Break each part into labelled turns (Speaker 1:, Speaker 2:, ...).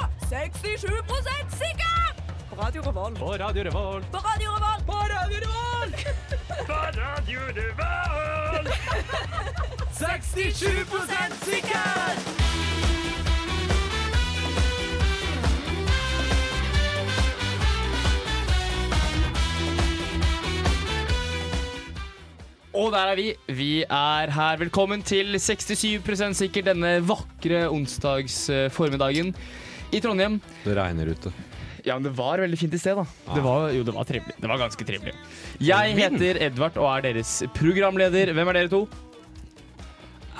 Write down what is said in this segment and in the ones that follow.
Speaker 1: 67 sikker! På Radio Revolt.
Speaker 2: På Radio Revolt.
Speaker 1: På Radio Revolt. På Radio Revolt!
Speaker 2: 67
Speaker 1: sikker!
Speaker 2: Og der er vi. Vi er her. Velkommen til 67 sikker denne vakre onsdagsformiddagen i Trondheim.
Speaker 3: Det regner ute.
Speaker 2: Ja, men det var veldig fint i sted, da. Det var, jo, det var trivelig. Det var ganske trivelig. Jeg heter Edvard og er deres programleder. Hvem er dere to?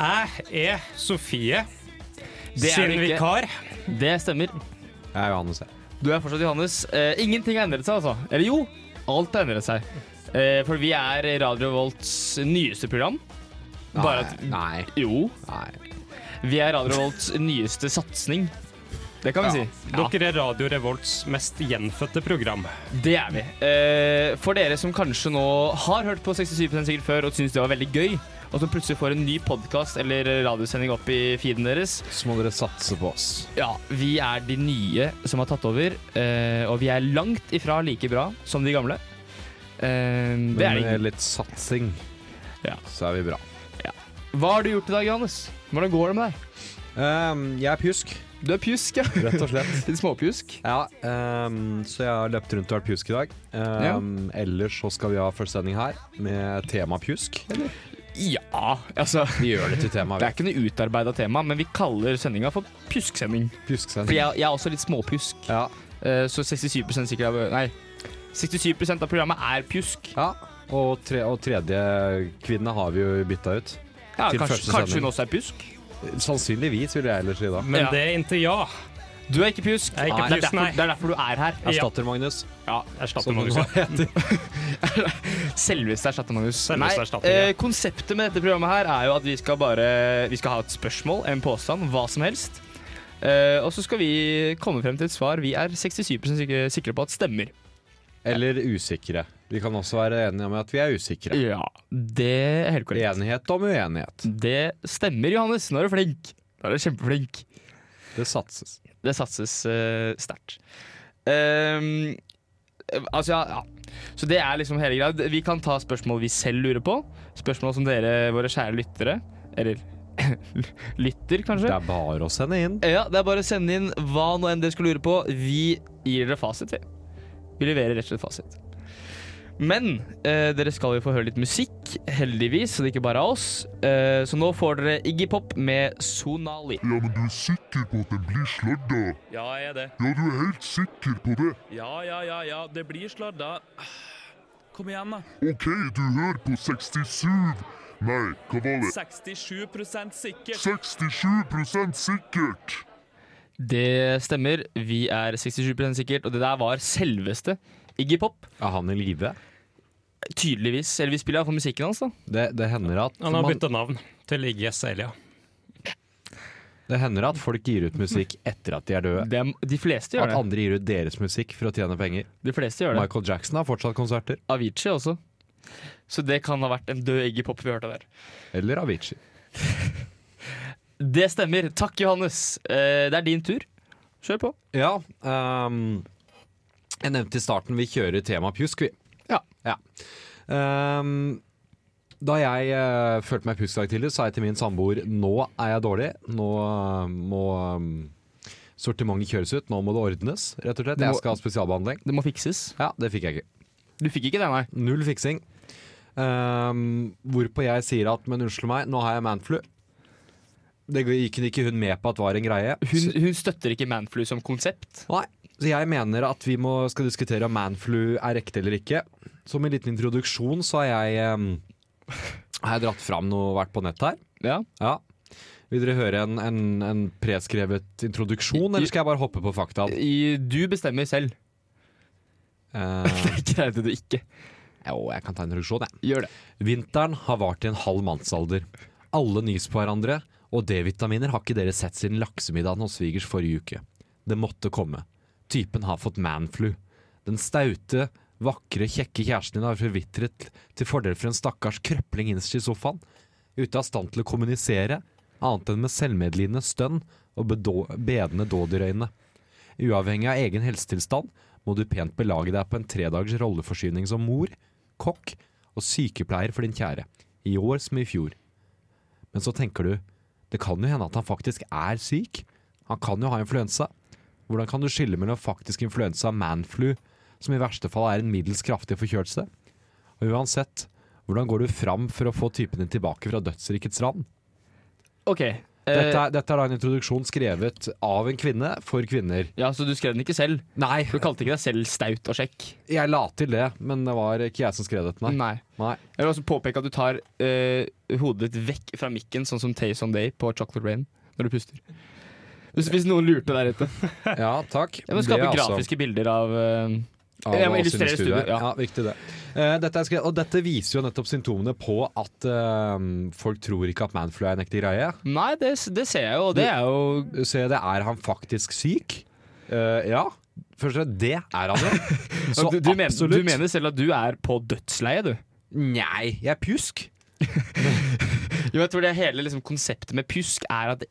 Speaker 4: Jeg er Sofie,
Speaker 2: Det er
Speaker 4: sin
Speaker 2: du ikke.
Speaker 4: vikar.
Speaker 2: Det stemmer.
Speaker 3: Jeg er Johannes, jeg.
Speaker 2: Du er fortsatt Johannes. Eh, ingenting har endret seg, altså. Eller jo, alt har endret seg. Eh, for vi er Radio Volts nyeste program. Bare at
Speaker 3: Nei.
Speaker 2: Jo,
Speaker 3: Nei.
Speaker 2: vi er Radio Volts nyeste satsing. Det kan vi
Speaker 3: Ja.
Speaker 2: si.
Speaker 4: Dere er Radio Revolts mest gjenfødte program.
Speaker 2: Det er vi. Eh, for dere som kanskje nå har hørt på 67 sikkert før og syns det var veldig gøy, og som plutselig får en ny podkast eller radiosending opp i feeden deres
Speaker 3: Så må dere satse på oss.
Speaker 2: Ja, vi er de nye som har tatt over, eh, og vi er langt ifra like bra som de gamle. Eh, det er
Speaker 3: Men
Speaker 2: det ikke.
Speaker 3: med litt satsing,
Speaker 2: Ja.
Speaker 3: så er vi bra. eh,
Speaker 2: Hva har du gjort i dag, Johannes? Hvordan går det med deg?
Speaker 3: Ehm, jeg er pjusk,
Speaker 2: Du er pjusk, ja.
Speaker 3: rett og slett.
Speaker 2: Litt småpjusk.
Speaker 3: Ja, ehm, så jeg har løpt rundt og vært pjusk i dag. Ehm, Ellers så skal vi ha første sending her med tema pjusk.
Speaker 2: Ja, altså
Speaker 3: Vi gjør det til tema.
Speaker 2: Det er ikke noe utarbeida tema, men vi kaller sendinga for pjusksending. For
Speaker 3: Pjusksending.
Speaker 2: jeg, jeg er også litt småpjusk,
Speaker 3: Ja.
Speaker 2: eh, så 67 sikker av Nei. 67 av programmet er pjusk.
Speaker 3: ja. Og, tre, og tredje kvinne har vi jo bytta ut.
Speaker 2: Ja,
Speaker 3: Til
Speaker 2: kanskje,
Speaker 3: første
Speaker 2: kanskje
Speaker 3: sending.
Speaker 2: hun også er pjusk?
Speaker 3: Sannsynligvis, vil jeg ellers si da.
Speaker 4: Men
Speaker 2: Ja.
Speaker 4: det er inntil ja.
Speaker 2: Du er ikke pjusk.
Speaker 4: Jeg er ikke
Speaker 2: Nei,
Speaker 4: pjusk,
Speaker 2: det, er derfor,
Speaker 4: nei.
Speaker 2: det er derfor du er her. Altså,
Speaker 4: Ja.
Speaker 3: Erstatter Magnus.
Speaker 2: Ja,
Speaker 4: Erstatter
Speaker 3: som
Speaker 4: Magnus.
Speaker 3: hun heter.
Speaker 2: Selveste erstatter, Magnus.
Speaker 4: Selveste
Speaker 2: Nei,
Speaker 4: erstatter, ja.
Speaker 2: eh, konseptet med dette programmet her er jo at vi skal bare Vi skal ha et spørsmål, en påstand, hva som helst. Eh, og så skal vi komme frem til et svar vi er 67 sikre, sikre på at stemmer.
Speaker 3: Eller usikre. Vi kan også være enige om at vi er usikre.
Speaker 2: Ja, Det er helt korrekt.
Speaker 3: Enighet om uenighet.
Speaker 2: Det stemmer, Johannes. Nå er du flink. Nå er du kjempeflink.
Speaker 3: Det satses.
Speaker 2: Det satses eh, sterkt. Ehm, eh, altså, ja, ja. Så det er liksom hele greia. Vi kan ta spørsmål vi selv lurer på. Spørsmål som dere, våre kjære lyttere Eller lytter,
Speaker 3: Det
Speaker 2: kanskje.
Speaker 3: er bare å sende inn.
Speaker 2: Ja, det er bare å sende inn hva nå enn dere skulle lure på. Vi gir dere fasit, vi. Vi leverer rett og slett fasit. Men eh, dere skal jo få høre litt musikk, heldigvis, så det ikke bare er oss. Eh, så nå får dere Iggy Pop med Sonali.
Speaker 5: Ja, men du er sikker på at den blir sladda?
Speaker 4: Ja, jeg er det.
Speaker 5: Ja, du er helt sikker på det?
Speaker 4: Ja, ja, ja, ja. Det blir sladda. Kom igjen, da.
Speaker 5: Ok, du hører på 67 Nei, hva var det?
Speaker 4: 67 sikker.
Speaker 5: 67 sikkert!
Speaker 2: Det stemmer. Vi er 67 sikkert, og det der var selveste Iggy Pop.
Speaker 3: Er han i live?
Speaker 2: Tydeligvis. Eller vi spiller iallfall musikken hans, da.
Speaker 3: Det, det hender at
Speaker 4: Han har
Speaker 3: man,
Speaker 4: bytta navn til IGS Elia.
Speaker 3: det hender at folk gir ut musikk etter at de er døde.
Speaker 2: De, de fleste gjør
Speaker 3: At
Speaker 2: det.
Speaker 3: andre gir ut deres musikk for å tjene penger.
Speaker 2: De fleste gjør det.
Speaker 3: Michael Jackson har fortsatt konserter.
Speaker 2: Avicii også. Så det kan ha vært en død Iggy Pop vi hørte der.
Speaker 3: Eller Avicii.
Speaker 2: Det stemmer. Takk, Johannes. Eh, det er din tur. Kjør på.
Speaker 3: Ja, ehm, jeg nevnte i starten vi kjører tema pjusk, vi.
Speaker 2: Ja.
Speaker 3: Ehm, da jeg eh, følte meg pjusk i dag tidlig, sa jeg til min samboer nå er jeg dårlig. Nå eh, må um, sortimentet kjøres ut. Nå må det ordnes, rett og slett.
Speaker 2: Det må-
Speaker 3: Jeg skal ha spesialbehandling.
Speaker 2: Det må fikses.
Speaker 3: Ja, det fikk jeg ikke.
Speaker 2: Du fikk ikke det, nei.
Speaker 3: Null fiksing. Ehm, hvorpå jeg sier at men unnskyld meg, nå har jeg manflu. Det gikk ikke hun med på at var en greie.
Speaker 2: Hun, hun støtter ikke Manflu som konsept.
Speaker 3: Nei, så jeg mener at vi må, skal diskutere om manflu er ekte eller ikke. Som en liten introduksjon så har jeg, ehm, har jeg dratt fram noe vært på nett her.
Speaker 2: Ja.
Speaker 3: Ja. Vil dere høre en, en, en preskrevet introduksjon, eller skal jeg bare hoppe på fakta?
Speaker 2: I, du bestemmer selv.
Speaker 3: Eh,
Speaker 2: Det greide du ikke.
Speaker 3: jo, jeg kan ta en introduksjon, jeg.
Speaker 2: Gjør det.
Speaker 3: Vinteren har vart i en halv mannsalder. Alle nys på hverandre, og D-vitaminer har ikke dere sett siden laksemiddagen hos svigers forrige uke. Det måtte komme. Typen har fått manflu. Den staute, vakre, kjekke kjæresten din har forvitret til fordel for en stakkars krøpling innerst i sofaen. Ute av stand til å kommunisere, annet enn med selvmedlidende stønn og bedå bedende dådyrøyne. Uavhengig av egen helsetilstand må du pent belage deg på en tredagers rolleforsyning som mor, kokk og sykepleier for din kjære, i år som i fjor. Men så tenker du, det kan jo hende at han faktisk er syk. Han kan jo ha influensa. Hvordan kan du skille mellom faktisk influensa og manflu, som i verste fall er en middels kraftig forkjølelse? Og uansett, hvordan går du fram for å få typen din tilbake fra dødsrikets rand?
Speaker 2: OK. eh,
Speaker 3: Dette er, dette er da en introduksjon skrevet av en kvinne for kvinner.
Speaker 2: eh, ja, Så du skrev den ikke selv?
Speaker 3: Nei,
Speaker 2: Du kalte ikke deg selv staut og sjekk?
Speaker 3: jeg la til det, men det var ikke jeg som skrev dette, nei. nei.
Speaker 2: Jeg vil også påpeke at du tar eh, hodet ditt vekk fra mikken, sånn som Tayson Day på Chocolate Rain, når du puster. Hvis, hvis noen lurte der ute.
Speaker 3: Ja, takk.
Speaker 2: Jeg må
Speaker 3: Det
Speaker 2: skape
Speaker 3: er altså-
Speaker 2: grafiske bilder av eh,
Speaker 3: av
Speaker 2: Jeg må
Speaker 3: oss i
Speaker 2: illustrere
Speaker 3: studio.
Speaker 2: studio,
Speaker 3: Ja.
Speaker 2: ja.
Speaker 3: riktig det. Eh, dette er skrevet, og dette viser jo nettopp symptomene på at eh, folk tror ikke at manflu er en ekte greie.
Speaker 2: Nei, det, det ser jeg jo, og det er jo
Speaker 3: Se, det er han faktisk syk. Eh, ja. Først og fremst, det er han jo. Så
Speaker 2: du, du, mener,
Speaker 3: absolutt.
Speaker 2: du mener selv at du er på dødsleiet, du?
Speaker 3: Nei, jeg er pjusk.
Speaker 2: Jo, jeg tror det hele liksom, konseptet med pjusk er at det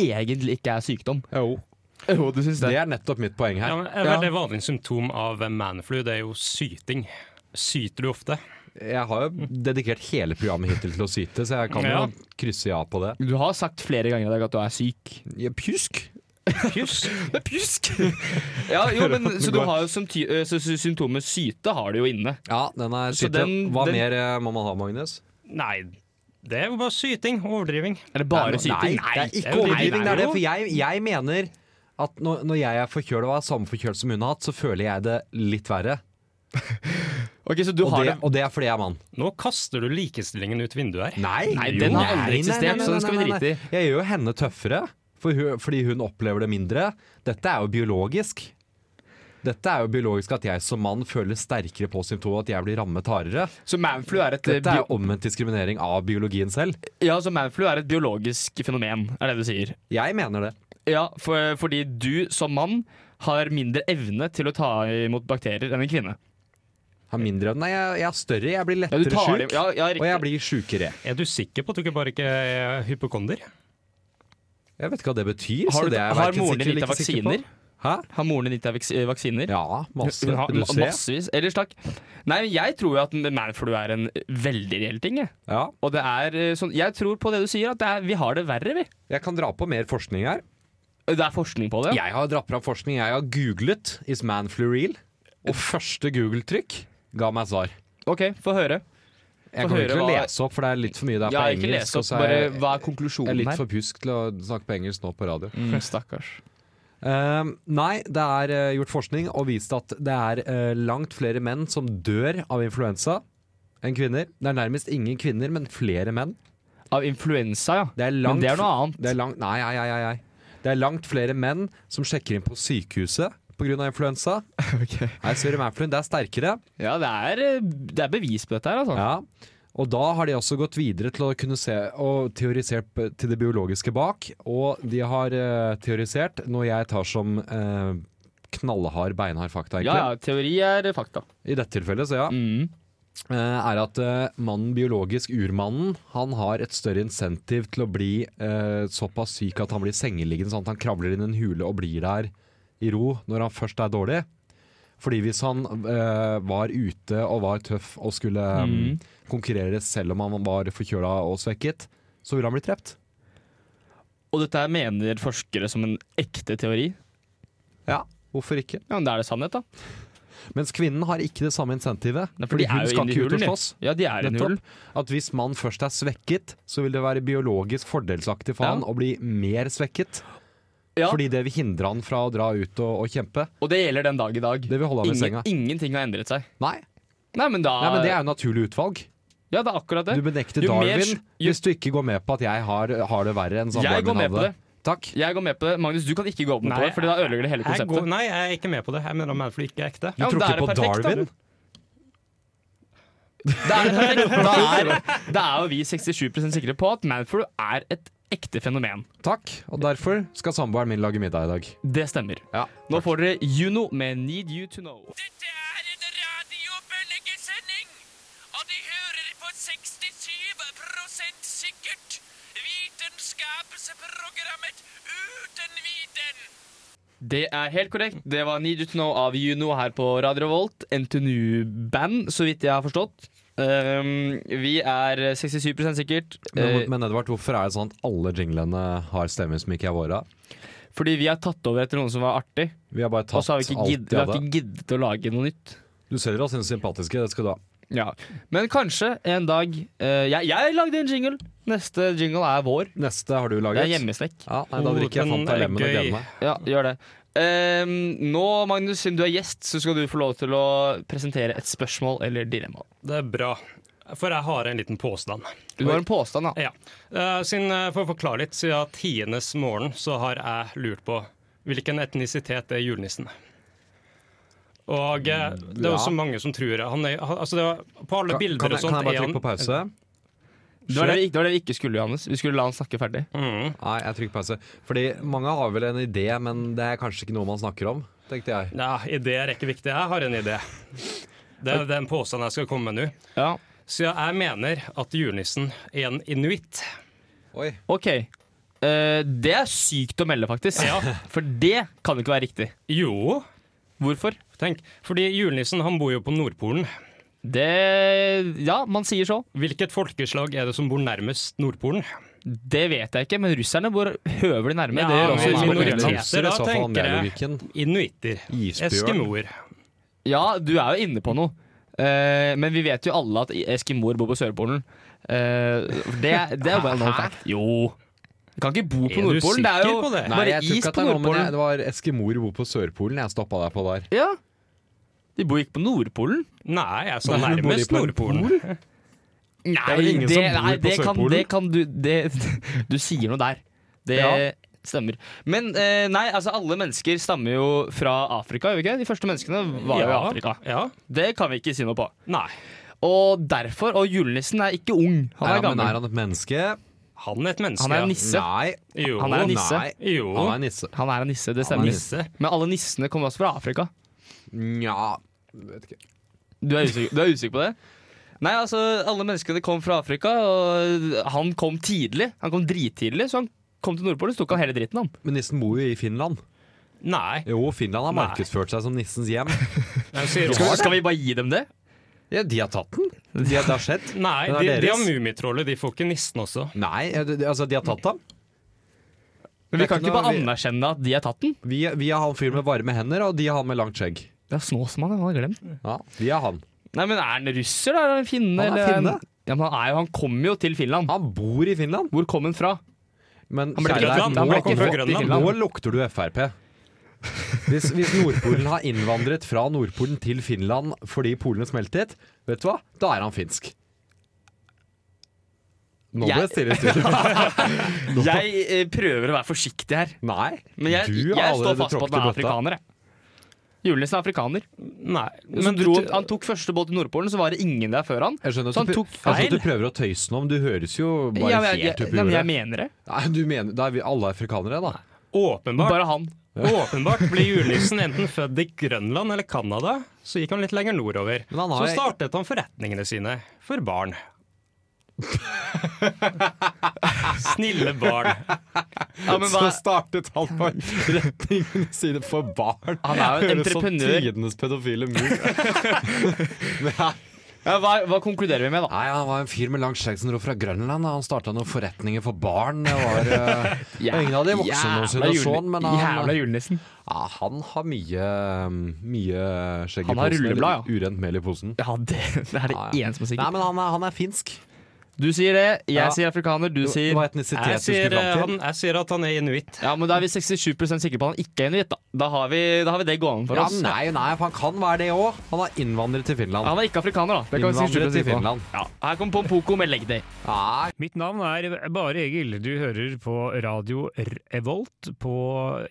Speaker 2: egentlig ikke er sykdom.
Speaker 3: Jo,
Speaker 2: Jo, du syns
Speaker 3: det er nettopp mitt poeng
Speaker 6: Ja,
Speaker 3: her.
Speaker 6: men Et veldig vanlig symptom av manflu det er jo syting. Syter du ofte?
Speaker 3: Jeg har jo dedikert hele programmet hittil til å syte, så jeg kan
Speaker 6: Ja.
Speaker 3: jo krysse ja på det.
Speaker 2: Du har sagt flere ganger i dag at du er syk.
Speaker 3: Ja, pjusk?
Speaker 2: Men pjusk! ja, jo, men Så du har jo symty- eh, så- så symptomet syte har du jo inne.
Speaker 3: Ja, den er
Speaker 2: Så
Speaker 3: syte.
Speaker 2: den-
Speaker 3: Hva
Speaker 2: den-
Speaker 3: mer eh, må man ha, Magnus?
Speaker 6: Nei, det er jo bare syting. Overdriving.
Speaker 2: Er det bare
Speaker 3: Nei,
Speaker 2: syting?
Speaker 3: Nei, det er ikke
Speaker 6: jo-
Speaker 3: overdriving. Det
Speaker 6: nei,
Speaker 3: er det,
Speaker 6: jo.
Speaker 3: for jeg, jeg mener at når, når jeg er forkjøla og har samme forkjølelse som hun har hatt, så føler jeg det litt verre.
Speaker 2: Ok, så du
Speaker 3: Og
Speaker 2: har
Speaker 3: det,
Speaker 2: det
Speaker 3: og det er fordi jeg er mann.
Speaker 6: Nå kaster du likestillingen ut vinduet her.
Speaker 3: Nei,
Speaker 2: Nei,
Speaker 3: jo.
Speaker 2: den har aldri
Speaker 3: Nei, nei,
Speaker 2: eksistert,
Speaker 3: nei, nei,
Speaker 2: så den skal vi
Speaker 3: nei, nei,
Speaker 2: drite i.
Speaker 3: nei. Jeg gjør jo henne tøffere, for hun, fordi hun opplever det mindre. Dette er jo biologisk. Dette er jo biologisk at jeg som mann føler sterkere på symptomet at jeg blir rammet hardere.
Speaker 2: Så manflu er et eh,
Speaker 3: Dette er
Speaker 2: bio-
Speaker 3: jo omvendt diskriminering av biologien selv.
Speaker 2: Ja, så manflu er et biologisk fenomen, er det du sier.
Speaker 3: Jeg mener det.
Speaker 2: Ja, for, fordi du som mann har mindre evne til å ta imot bakterier enn en kvinne.
Speaker 3: Har mindre Nei, jeg, jeg er større, jeg blir
Speaker 2: Ja, du
Speaker 3: lettere
Speaker 2: tar
Speaker 3: sjuk,
Speaker 2: dem- ja, ja, riktig.
Speaker 3: og jeg blir sjukere.
Speaker 6: Er du sikker på at du ikke bare ikke er hypokonder?
Speaker 3: Jeg vet ikke hva det betyr.
Speaker 2: Har,
Speaker 3: så
Speaker 2: du,
Speaker 3: det er jeg
Speaker 2: har
Speaker 3: hverken
Speaker 2: moren
Speaker 3: sikker
Speaker 2: din gitt deg
Speaker 3: eller ikke sikker på.
Speaker 2: vaksiner?
Speaker 3: Hæ?
Speaker 2: Har moren din gitt deg vaks- eh, vaksiner?
Speaker 3: Ja, masse.
Speaker 2: Hun har
Speaker 3: Vil du se?
Speaker 2: massevis. Ellers takk. Nei, men jeg tror jo at manflu er en veldig reell ting. Jeg.
Speaker 3: Ja.
Speaker 2: Og det er eh, sånn Jeg tror på det du sier, at det er, vi har det verre, vi.
Speaker 3: Jeg kan dra på mer forskning her.
Speaker 2: Det er forskning på det.
Speaker 3: Jeg har dratt fram forskning. Jeg har googlet 'Is man flu real?' Og første Google-trykk ga meg svar.
Speaker 2: OK, få høre.
Speaker 3: Jeg
Speaker 2: Få høre
Speaker 3: kommer ikke til å
Speaker 2: hva-
Speaker 3: lese opp, for det er litt for mye der
Speaker 2: Ja,
Speaker 3: på
Speaker 2: ikke les
Speaker 3: engelsk.
Speaker 2: opp,
Speaker 3: og så er
Speaker 2: bare
Speaker 3: jeg-
Speaker 2: hva er
Speaker 3: jeg er
Speaker 2: konklusjonen
Speaker 3: litt
Speaker 2: her?
Speaker 3: for pjusk til å snakke på engelsk nå på radio.
Speaker 2: Mm, stakkars.
Speaker 3: Ehm, nei, det er eh, gjort forskning og vist at det er eh, langt flere menn som dør av influensa enn kvinner. Det er nærmest ingen kvinner, men flere menn.
Speaker 2: Av influensa, ja.
Speaker 3: Det er
Speaker 2: Men
Speaker 3: langt
Speaker 2: det er noe annet.
Speaker 3: Det er langt, nei, nei, nei, nei. Det er langt flere menn som sjekker inn på sykehuset pga. influensa. Nei, sorry, Manfluen, det er sterkere.
Speaker 2: Ja, det er, eh, det er bevis på dette her, altså.
Speaker 3: Ja. Og da har de også gått videre til å kunne se og teorisert p- til det biologiske bak. Og de har eh, teorisert noe jeg tar som eh, knallhard, beinhard fakta,
Speaker 2: Ja,
Speaker 3: egentlig.
Speaker 2: ja, teori er fakta.
Speaker 3: I dette tilfellet, så ja. eh, er at eh, mannen biologisk urmannen Han har et større insentiv til å bli eh, såpass syk at han blir sengeliggende, sånn at han kravler inn i en hule og blir der i ro når han først er dårlig. Fordi hvis han eh, var ute og var tøff og skulle eh,
Speaker 2: Mm.
Speaker 3: konkurrere selv om han var forkjøla og svekket, så ville han bli drept.
Speaker 2: Og dette her mener forskere som en ekte teori.
Speaker 3: Ja, hvorfor ikke?
Speaker 2: Ja, men Da er det sannhet, da.
Speaker 3: Mens kvinnen har ikke det samme insentivet.
Speaker 2: Nei, for
Speaker 3: fordi
Speaker 2: de er
Speaker 3: hun
Speaker 2: jo
Speaker 3: skal
Speaker 2: inne i
Speaker 3: ikke ut
Speaker 2: hulen,
Speaker 3: og
Speaker 2: de.
Speaker 3: slåss.
Speaker 2: Ja, de er i en
Speaker 3: Nettopp.
Speaker 2: hull.
Speaker 3: At hvis man først er svekket, så vil det være biologisk fordelsaktig for
Speaker 2: Ja.
Speaker 3: han å bli mer svekket.
Speaker 2: Ja.
Speaker 3: Fordi det vil hindre han fra å dra ut og, og kjempe.
Speaker 2: Og det gjelder den dag i dag.
Speaker 3: Det vil holde han i
Speaker 2: Ingen,
Speaker 3: senga.
Speaker 2: ingenting har endret seg.
Speaker 3: Nei.
Speaker 2: Nei, men da
Speaker 3: Nei, men det er jo naturlig utvalg.
Speaker 2: Ja, det er akkurat det.
Speaker 3: Du benekter
Speaker 2: Jo mer
Speaker 3: Darwin
Speaker 2: sj- jo-
Speaker 3: hvis du ikke går med på at jeg har, har det verre enn sånn
Speaker 2: Jeg går
Speaker 3: Darwin
Speaker 2: med på
Speaker 3: hadde.
Speaker 2: det.
Speaker 3: Takk.
Speaker 2: Jeg går med på det. Magnus, du kan ikke gå opp med
Speaker 6: Nei,
Speaker 2: på det, for da ødelegger det hele
Speaker 6: Jeg går,
Speaker 2: konseptet.
Speaker 6: nei, jeg er ikke med på det. Jeg mener at manflu ikke er ekte.
Speaker 3: Du
Speaker 2: Ja, men
Speaker 3: tror
Speaker 2: da er det
Speaker 3: ikke på
Speaker 2: perfekt, da,
Speaker 3: Darwin?
Speaker 2: Da er, det perfekt. da, er, da er jo vi 67 sikre på at Manfrew er et ekte fenomen.
Speaker 3: Takk. Og derfor skal samboeren min lage middag i dag.
Speaker 2: Det stemmer.
Speaker 3: Ja.
Speaker 2: Nå får dere Juno med Need You To Know.
Speaker 1: Dette er en radiobølgesending, og de hører på 67 sikkert. Vitenskapsprogrammet uten viten.
Speaker 2: Det er helt korrekt. Det var Need You To Know av Juno her på Radio Revolt. NTNU-band, så vidt jeg har forstått. Um, vi er 67 sikkert.
Speaker 3: Men,
Speaker 2: eh,
Speaker 3: men Edvard, hvorfor er det sånn at alle jinglene har stemmer som ikke er våre?
Speaker 2: fordi vi har tatt over etter noen som var artig.
Speaker 3: Vi har bare
Speaker 2: Og
Speaker 3: tatt
Speaker 2: så har vi ikke, gidd, vi
Speaker 3: alt de
Speaker 2: har
Speaker 3: hadde.
Speaker 2: ikke giddet å lage noe nytt.
Speaker 3: Du selger oss inn sympatiske, det skal du ha.
Speaker 2: Ja. Men kanskje en dag eh, jeg, jeg lagde en jingle. Neste jingle er vår.
Speaker 3: Neste har du
Speaker 2: Det
Speaker 3: laget.
Speaker 2: er hjemmesnekk.
Speaker 3: Ja, nei, da
Speaker 6: Oh,
Speaker 3: drikker jeg
Speaker 6: den
Speaker 3: Fanta
Speaker 6: er
Speaker 3: Lemen og
Speaker 6: gøy.
Speaker 3: gleder meg.
Speaker 2: Ja, gjør det. Ehm, nå, Magnus, siden du er gjest, så skal du få lov til å presentere et spørsmål eller dilemma.
Speaker 6: Det er bra. For jeg har en liten påstand.
Speaker 2: Du har en påstand, da.
Speaker 6: Ja. Eh, siden, eh, for å forklare litt, siden tienes morgen så har jeg lurt på hvilken etnisitet er julenissen? Og eh, det er
Speaker 3: Mm, Ja.
Speaker 6: jo så mange som tror han er, han- altså det var, På alle
Speaker 3: Kan,
Speaker 6: bilder
Speaker 3: kan,
Speaker 6: og
Speaker 3: jeg, kan
Speaker 6: sånt
Speaker 3: jeg bare
Speaker 6: er
Speaker 3: trykke på pause?
Speaker 2: Det var det, vi, ikke- det var det vi ikke skulle, Johannes. Vi skulle la han snakke ferdig.
Speaker 6: Mm.
Speaker 3: Nei, jeg trykker pause. Fordi mange har vel en idé, men det er kanskje ikke noe man snakker om, tenkte jeg.
Speaker 6: Ja, ideer er ikke viktig. Jeg har en idé. Det er den påstanden jeg skal komme med nå.
Speaker 2: Ja,
Speaker 6: Siden jeg mener at julenissen er en inuitt.
Speaker 3: Oi.
Speaker 2: ok Eh, Det er sykt å melde, faktisk.
Speaker 6: Ja.
Speaker 2: For det kan jo ikke være riktig.
Speaker 6: Jo,
Speaker 2: Hvorfor?
Speaker 6: tenk. Fordi julenissen han bor jo på Nordpolen.
Speaker 2: Det Ja, man sier så.
Speaker 6: Hvilket folkeslag er det som bor nærmest Nordpolen?
Speaker 2: Det vet jeg ikke, men russerne bor høvelig nærme.
Speaker 6: Ja,
Speaker 2: det gjør
Speaker 6: men
Speaker 2: også
Speaker 3: Nei,
Speaker 2: Island og
Speaker 3: men
Speaker 6: minoriteter,
Speaker 2: Grønland.
Speaker 3: Russere,
Speaker 6: da,
Speaker 3: i så fall,
Speaker 6: tenker
Speaker 3: det er
Speaker 6: jeg.
Speaker 3: logikken.
Speaker 6: Inuitter.
Speaker 3: Isbjørn.
Speaker 6: Eskimoer.
Speaker 2: Ja, du er jo inne på noe. Eh, men vi vet jo alle at eskimoer bor på Sørpolen. Eh, det, det er jo bare en known fact. Jo. Du kan ikke bo på
Speaker 6: Er du
Speaker 2: Nordpolen. Det er jo
Speaker 6: sikker på det?
Speaker 3: Nei,
Speaker 2: bare
Speaker 3: jeg
Speaker 2: is
Speaker 3: tror ikke
Speaker 2: på
Speaker 3: at det er noe, men jeg,
Speaker 2: Nordpolen.
Speaker 3: det var eskimoer bor på Sørpolen jeg stoppa deg på der.
Speaker 2: Ja. De bor ikke på Nordpolen.
Speaker 6: Nei, jeg sa
Speaker 3: Men bor de
Speaker 6: nærmest
Speaker 3: på en
Speaker 6: Nordpolen.
Speaker 2: Nei,
Speaker 3: Det er vel ingen som bor
Speaker 2: nei,
Speaker 3: på
Speaker 2: det kan,
Speaker 3: Sørpolen?
Speaker 2: det kan du det, Du sier noe der. Det
Speaker 3: Ja.
Speaker 2: stemmer. Men eh, nei, altså alle mennesker stammer jo fra Afrika, gjør vi ikke? De første menneskene var jo i Afrika.
Speaker 6: Ja.
Speaker 2: Det kan vi ikke si noe på.
Speaker 6: Nei.
Speaker 2: Og derfor Og julenissen er ikke ung, han
Speaker 3: Nei,
Speaker 2: er
Speaker 3: ja, men
Speaker 2: gammel.
Speaker 3: er han et menneske?
Speaker 6: Han er et menneske.
Speaker 2: Han er
Speaker 6: ja.
Speaker 2: en nisse.
Speaker 3: Nei.
Speaker 6: Jo.
Speaker 2: Han er en nisse.
Speaker 3: Nei.
Speaker 6: Jo.
Speaker 3: Han er en nisse.
Speaker 2: Han er en nisse, det
Speaker 3: Han er
Speaker 2: stemmer.
Speaker 3: nisse.
Speaker 2: Men alle nissene kommer også fra Afrika.
Speaker 3: Nja Vet ikke.
Speaker 2: Du er usikker, du er usikker på det? Nei, altså, alle menneskene kom fra Afrika, og han kom tidlig. Han kom drittidlig, så han kom til Nordpolen, så tok han hele dritten, han.
Speaker 3: Men nissen bor jo i Finland.
Speaker 6: Nei.
Speaker 3: Jo, Finland har
Speaker 6: Nei.
Speaker 3: markedsført seg som nissens hjem.
Speaker 6: Jeg sier også-
Speaker 2: Skal, vi- skal vi bare gi dem det?
Speaker 3: Ja, de har tatt den. De har, det har skjedd.
Speaker 6: Nei,
Speaker 3: Den er
Speaker 6: de, de
Speaker 3: deres.
Speaker 6: har Mummitrollet, de får ikke nissen også.
Speaker 3: Nei, ja, det- det- altså, de har tatt ham.
Speaker 2: Men vi kan ikke bare
Speaker 3: Vi-
Speaker 2: anerkjenne at de har tatt den.
Speaker 3: Vi, vi har han fyren med varme hender, og de har han med langt skjegg.
Speaker 2: Det er Snåsmann, han har glemt.
Speaker 3: Ja, vi har han.
Speaker 2: Nei, men er han russer, da? Er han finne?
Speaker 3: Han er
Speaker 2: eller
Speaker 3: finne.
Speaker 2: Ja, men han, er jo, han kom jo til Finland.
Speaker 3: Han bor i Finland.
Speaker 2: Hvor kom han fra?
Speaker 3: Men
Speaker 2: Han ble
Speaker 3: kjære
Speaker 2: ikke
Speaker 3: deg,
Speaker 2: født-
Speaker 3: nå,
Speaker 2: han ble ikke
Speaker 3: nå-
Speaker 2: født i
Speaker 3: nå-
Speaker 2: Finland.
Speaker 3: nå lukter du Frp. Hvis, hvis Nordpolen har innvandret fra Nordpolen til Finland fordi polene smeltet, vet du hva? Da er han finsk. Nå ble det stille i studio.
Speaker 2: Jeg eh, prøver å være forsiktig her.
Speaker 3: Nei,
Speaker 2: Men jeg,
Speaker 3: du
Speaker 2: jeg står
Speaker 3: har allerede
Speaker 2: fast på at han
Speaker 3: tråkket i
Speaker 2: er
Speaker 3: bøtta.
Speaker 2: afrikaner. Jeg. Julenissen er afrikaner.
Speaker 6: Nei.
Speaker 2: Men
Speaker 6: du-
Speaker 2: dro, han tok første båt til Nordpolen, så var det ingen der før han.
Speaker 3: Jeg skjønner
Speaker 2: Så
Speaker 3: at
Speaker 2: han
Speaker 3: du,
Speaker 2: tok
Speaker 3: pr- jeg skjønner at du
Speaker 2: feil.
Speaker 3: prøver å tøyse nå, men du høres jo bare
Speaker 2: Ja, men jeg,
Speaker 3: helt
Speaker 2: jeg,
Speaker 3: opp i
Speaker 2: nei, men jeg
Speaker 3: jordet.
Speaker 2: mener det.
Speaker 3: Nei, du mener, Da er vi alle afrikanere, da.
Speaker 6: Åpenbart,
Speaker 2: Bare han.
Speaker 6: åpenbart ble julenissen enten født i Grønland eller Canada, så gikk han litt lenger nordover.
Speaker 3: Men han har-
Speaker 6: Så startet han forretningene sine for barn. Snille barn.
Speaker 2: Ja, men hva,
Speaker 3: Så startet han på retningene sine for barn.
Speaker 2: Han er jo en
Speaker 3: Høres som
Speaker 2: entreprenør.
Speaker 3: Tidenes pedofile move. Nei.
Speaker 2: ja, hva, hva konkluderer vi med, da?
Speaker 3: Nei, han var en fyr med langt skjegg som dro fra Grønland. og Han starta noen forretninger for barn. Det var eh, Ingen av de voksne
Speaker 2: Jævla
Speaker 3: noen sin og
Speaker 2: jule-
Speaker 3: sånn, men
Speaker 2: Jævla
Speaker 3: han,
Speaker 2: julenissen.
Speaker 3: ja, han har mye, mye skjegg i
Speaker 2: Han har
Speaker 3: posen.
Speaker 2: rulleblad,
Speaker 3: eller Urent mel i posen.
Speaker 2: Ja, det, det er det
Speaker 3: Ja, ja.
Speaker 2: eneste som er
Speaker 3: Nei,
Speaker 2: sikkert.
Speaker 3: men han er, han er finsk.
Speaker 2: Du sier det,
Speaker 3: Ja.
Speaker 2: jeg sier afrikaner, du
Speaker 3: Det
Speaker 2: sier
Speaker 3: var etnisitet
Speaker 6: Jeg
Speaker 3: du
Speaker 6: sier,
Speaker 3: skulle
Speaker 6: eh,
Speaker 3: fram til.
Speaker 6: han, jeg sier at han er inuitt.
Speaker 2: Ja, men da er vi 67 sikre på at han ikke er inuitt, da. Da har vi, da har vi det gående for
Speaker 3: Ja,
Speaker 2: oss.
Speaker 3: nei, nei, for han kan være det òg. Han har innvandret til Finland.
Speaker 2: Han er ikke afrikaner, da. Det kan vi 67%
Speaker 3: Innvandret til
Speaker 2: sikre på.
Speaker 3: Finland.
Speaker 2: Ja. Her kom Pompoko med leg day.
Speaker 3: Nei,
Speaker 7: Mitt navn er Bare Egil. Du hører på radio Revolt på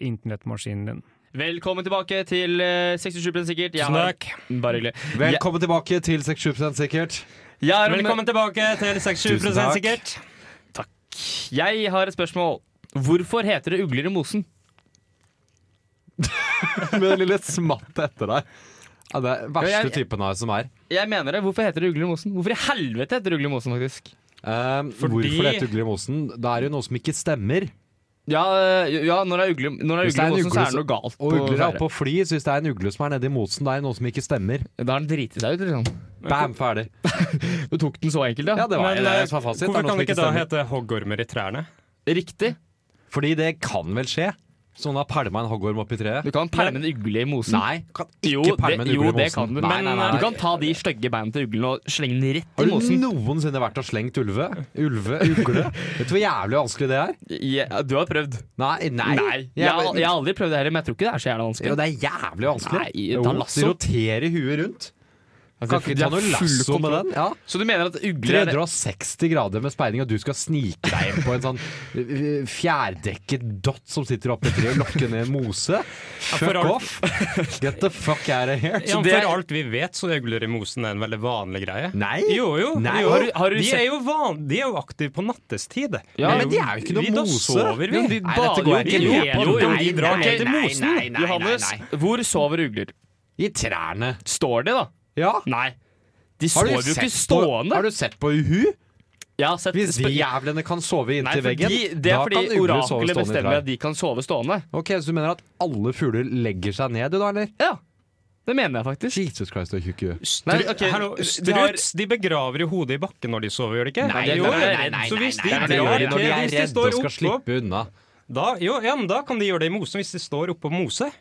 Speaker 7: internettmaskinen din.
Speaker 2: Velkommen tilbake til eh, 67 sikkert. Jeg har-
Speaker 6: Snakk.
Speaker 2: Bare hyggelig.
Speaker 3: Velkommen tilbake til 67 sikkert.
Speaker 2: Jeg, jeg, har en,
Speaker 6: Velkommen tilbake til 67
Speaker 3: Tusen takk.
Speaker 6: sikkert.
Speaker 2: jeg har et spørsmål. Hvorfor heter det ugler i mosen?
Speaker 3: Med det lille smattet etter deg. Ja, det er verste
Speaker 2: Ja, jeg-
Speaker 3: typen av som er.
Speaker 2: Jeg mener det. Hvorfor heter det ugler i mosen? Hvorfor i helvete
Speaker 3: Eh,
Speaker 2: heter det ugler i mosen, faktisk?
Speaker 3: Um, Hvorfor dette ugler i mosen? Da er det jo noe som ikke stemmer.
Speaker 2: Ja, eh, ja når det er ugle når det er
Speaker 3: Hvis
Speaker 2: ugle
Speaker 3: det er en
Speaker 2: i mosen, så
Speaker 3: ugle
Speaker 2: er det noe galt.
Speaker 3: Og ugler er
Speaker 2: ferde.
Speaker 3: oppe og flyr, så hvis det er en ugle som er nedi mosen, det er noe som ikke stemmer.
Speaker 2: Da har den driti seg ut, liksom.
Speaker 3: Bam, ferdig.
Speaker 2: Du tok den så enkelt,
Speaker 3: Ja,
Speaker 2: ja?
Speaker 3: det var
Speaker 6: Men,
Speaker 3: det
Speaker 6: eh,
Speaker 3: som var fasit.
Speaker 6: Hvorfor
Speaker 3: er noe
Speaker 6: kan
Speaker 3: som
Speaker 6: det
Speaker 3: ikke
Speaker 6: ikke da
Speaker 3: stemmer.
Speaker 6: hete hoggormer i trærne?
Speaker 2: Riktig.
Speaker 3: Fordi det kan vel skje? Sånn har pælma en hoggorm opp i treet?
Speaker 2: Du kan pælme en ugle i mosen.
Speaker 3: Nei, kan ikke
Speaker 2: Jo,
Speaker 3: pælme en
Speaker 2: det-
Speaker 3: ugle
Speaker 2: jo,
Speaker 3: i mosen.
Speaker 2: det kan du,
Speaker 3: Nei,
Speaker 2: men eh,
Speaker 3: nei, nei.
Speaker 2: du kan ta de stygge beina til uglen og slenge den rett i
Speaker 3: har du
Speaker 2: mosen.
Speaker 3: noensinne vært og slengt ulve? Ulve? Ugle? Vet du hvor jævlig vanskelig det er?
Speaker 2: Ja, du har prøvd.
Speaker 3: Nei. nei.
Speaker 2: Jeg,
Speaker 3: Ja,
Speaker 2: har- jeg har aldri prøvd det heller, men jeg tror ikke det er så jævla vanskelig.
Speaker 3: Jo, det er jævlig vanskelig.
Speaker 2: Nei, ta lasso.
Speaker 3: de roterer huet rundt.
Speaker 2: Altså,
Speaker 3: Kan
Speaker 2: de
Speaker 3: ikke ta
Speaker 2: har
Speaker 3: noe
Speaker 2: full
Speaker 3: lasso med
Speaker 2: kontroll.
Speaker 3: den. Ja.
Speaker 2: Så du mener at ugler er
Speaker 3: 360 grader med speining, og du skal snike deg inn på en sånn øh, fjærdekket dott som sitter oppe i treet og lokker ned en mose?
Speaker 6: for
Speaker 3: Fuck
Speaker 6: alt-
Speaker 3: off! Get the fuck out of here!
Speaker 6: Ja,
Speaker 2: det er-
Speaker 6: for alt vi vet, så er ugler i mosen en veldig vanlig greie.
Speaker 3: Nei!
Speaker 6: Jo, jo.
Speaker 3: Nei.
Speaker 6: jo.
Speaker 3: Har du-
Speaker 2: har du
Speaker 6: de,
Speaker 2: sett-
Speaker 6: er jo van... de er jo aktive på nattestid.
Speaker 2: Ja,
Speaker 3: men de er jo ikke noe
Speaker 6: vi, Da
Speaker 3: mose.
Speaker 6: sover vi.
Speaker 2: Men de
Speaker 3: Nei, dette
Speaker 2: bader
Speaker 3: går
Speaker 2: jo
Speaker 3: jeg
Speaker 2: ikke
Speaker 3: ikke
Speaker 2: i
Speaker 3: med på.
Speaker 2: jo, jo,
Speaker 3: Nei,
Speaker 2: de drar
Speaker 3: nei,
Speaker 2: ned til
Speaker 3: nei, nei,
Speaker 2: mosen.
Speaker 3: nei, nei,
Speaker 2: Johannes,
Speaker 3: nei.
Speaker 2: hvor sover ugler?
Speaker 3: I trærne.
Speaker 2: Står de, da?
Speaker 3: Ja.
Speaker 2: Nei. De
Speaker 3: Har
Speaker 2: sover
Speaker 3: du,
Speaker 2: jo ikke
Speaker 3: sett på,
Speaker 2: stående.
Speaker 3: har du sett på uhu?
Speaker 2: Jeg har sett
Speaker 3: Hvis de jævlene kan sove
Speaker 2: Nei,
Speaker 3: inntil veggen,
Speaker 2: fordi, det er
Speaker 3: da kan
Speaker 2: fordi
Speaker 3: ugler sove
Speaker 2: oraklet
Speaker 3: stående i
Speaker 2: bestemmer
Speaker 3: trær.
Speaker 2: at de kan sove stående.
Speaker 3: Ok, Så du mener at alle fugler legger seg ned, du da, eller?
Speaker 2: Ja, det mener jeg faktisk.
Speaker 3: Jesus Christ, du er tjukk i huet.
Speaker 6: Stru...
Speaker 2: Nei, ok,
Speaker 6: Hallo,
Speaker 2: de har-
Speaker 6: struts de begraver jo hodet i bakken når de sover, gjør de ikke?
Speaker 3: Nei,
Speaker 2: det-
Speaker 6: jo,
Speaker 2: nei, nei,
Speaker 3: nei,
Speaker 6: Så hvis de
Speaker 2: nei, nei,
Speaker 3: Det gjør de
Speaker 6: drar
Speaker 3: når de
Speaker 6: ikke,
Speaker 3: er
Speaker 6: hvis de
Speaker 3: redde
Speaker 6: står
Speaker 3: og skal
Speaker 6: oppå
Speaker 3: slippe unna.
Speaker 6: da, jo, ja, men da kan de gjøre det i mosen hvis de står oppå mose.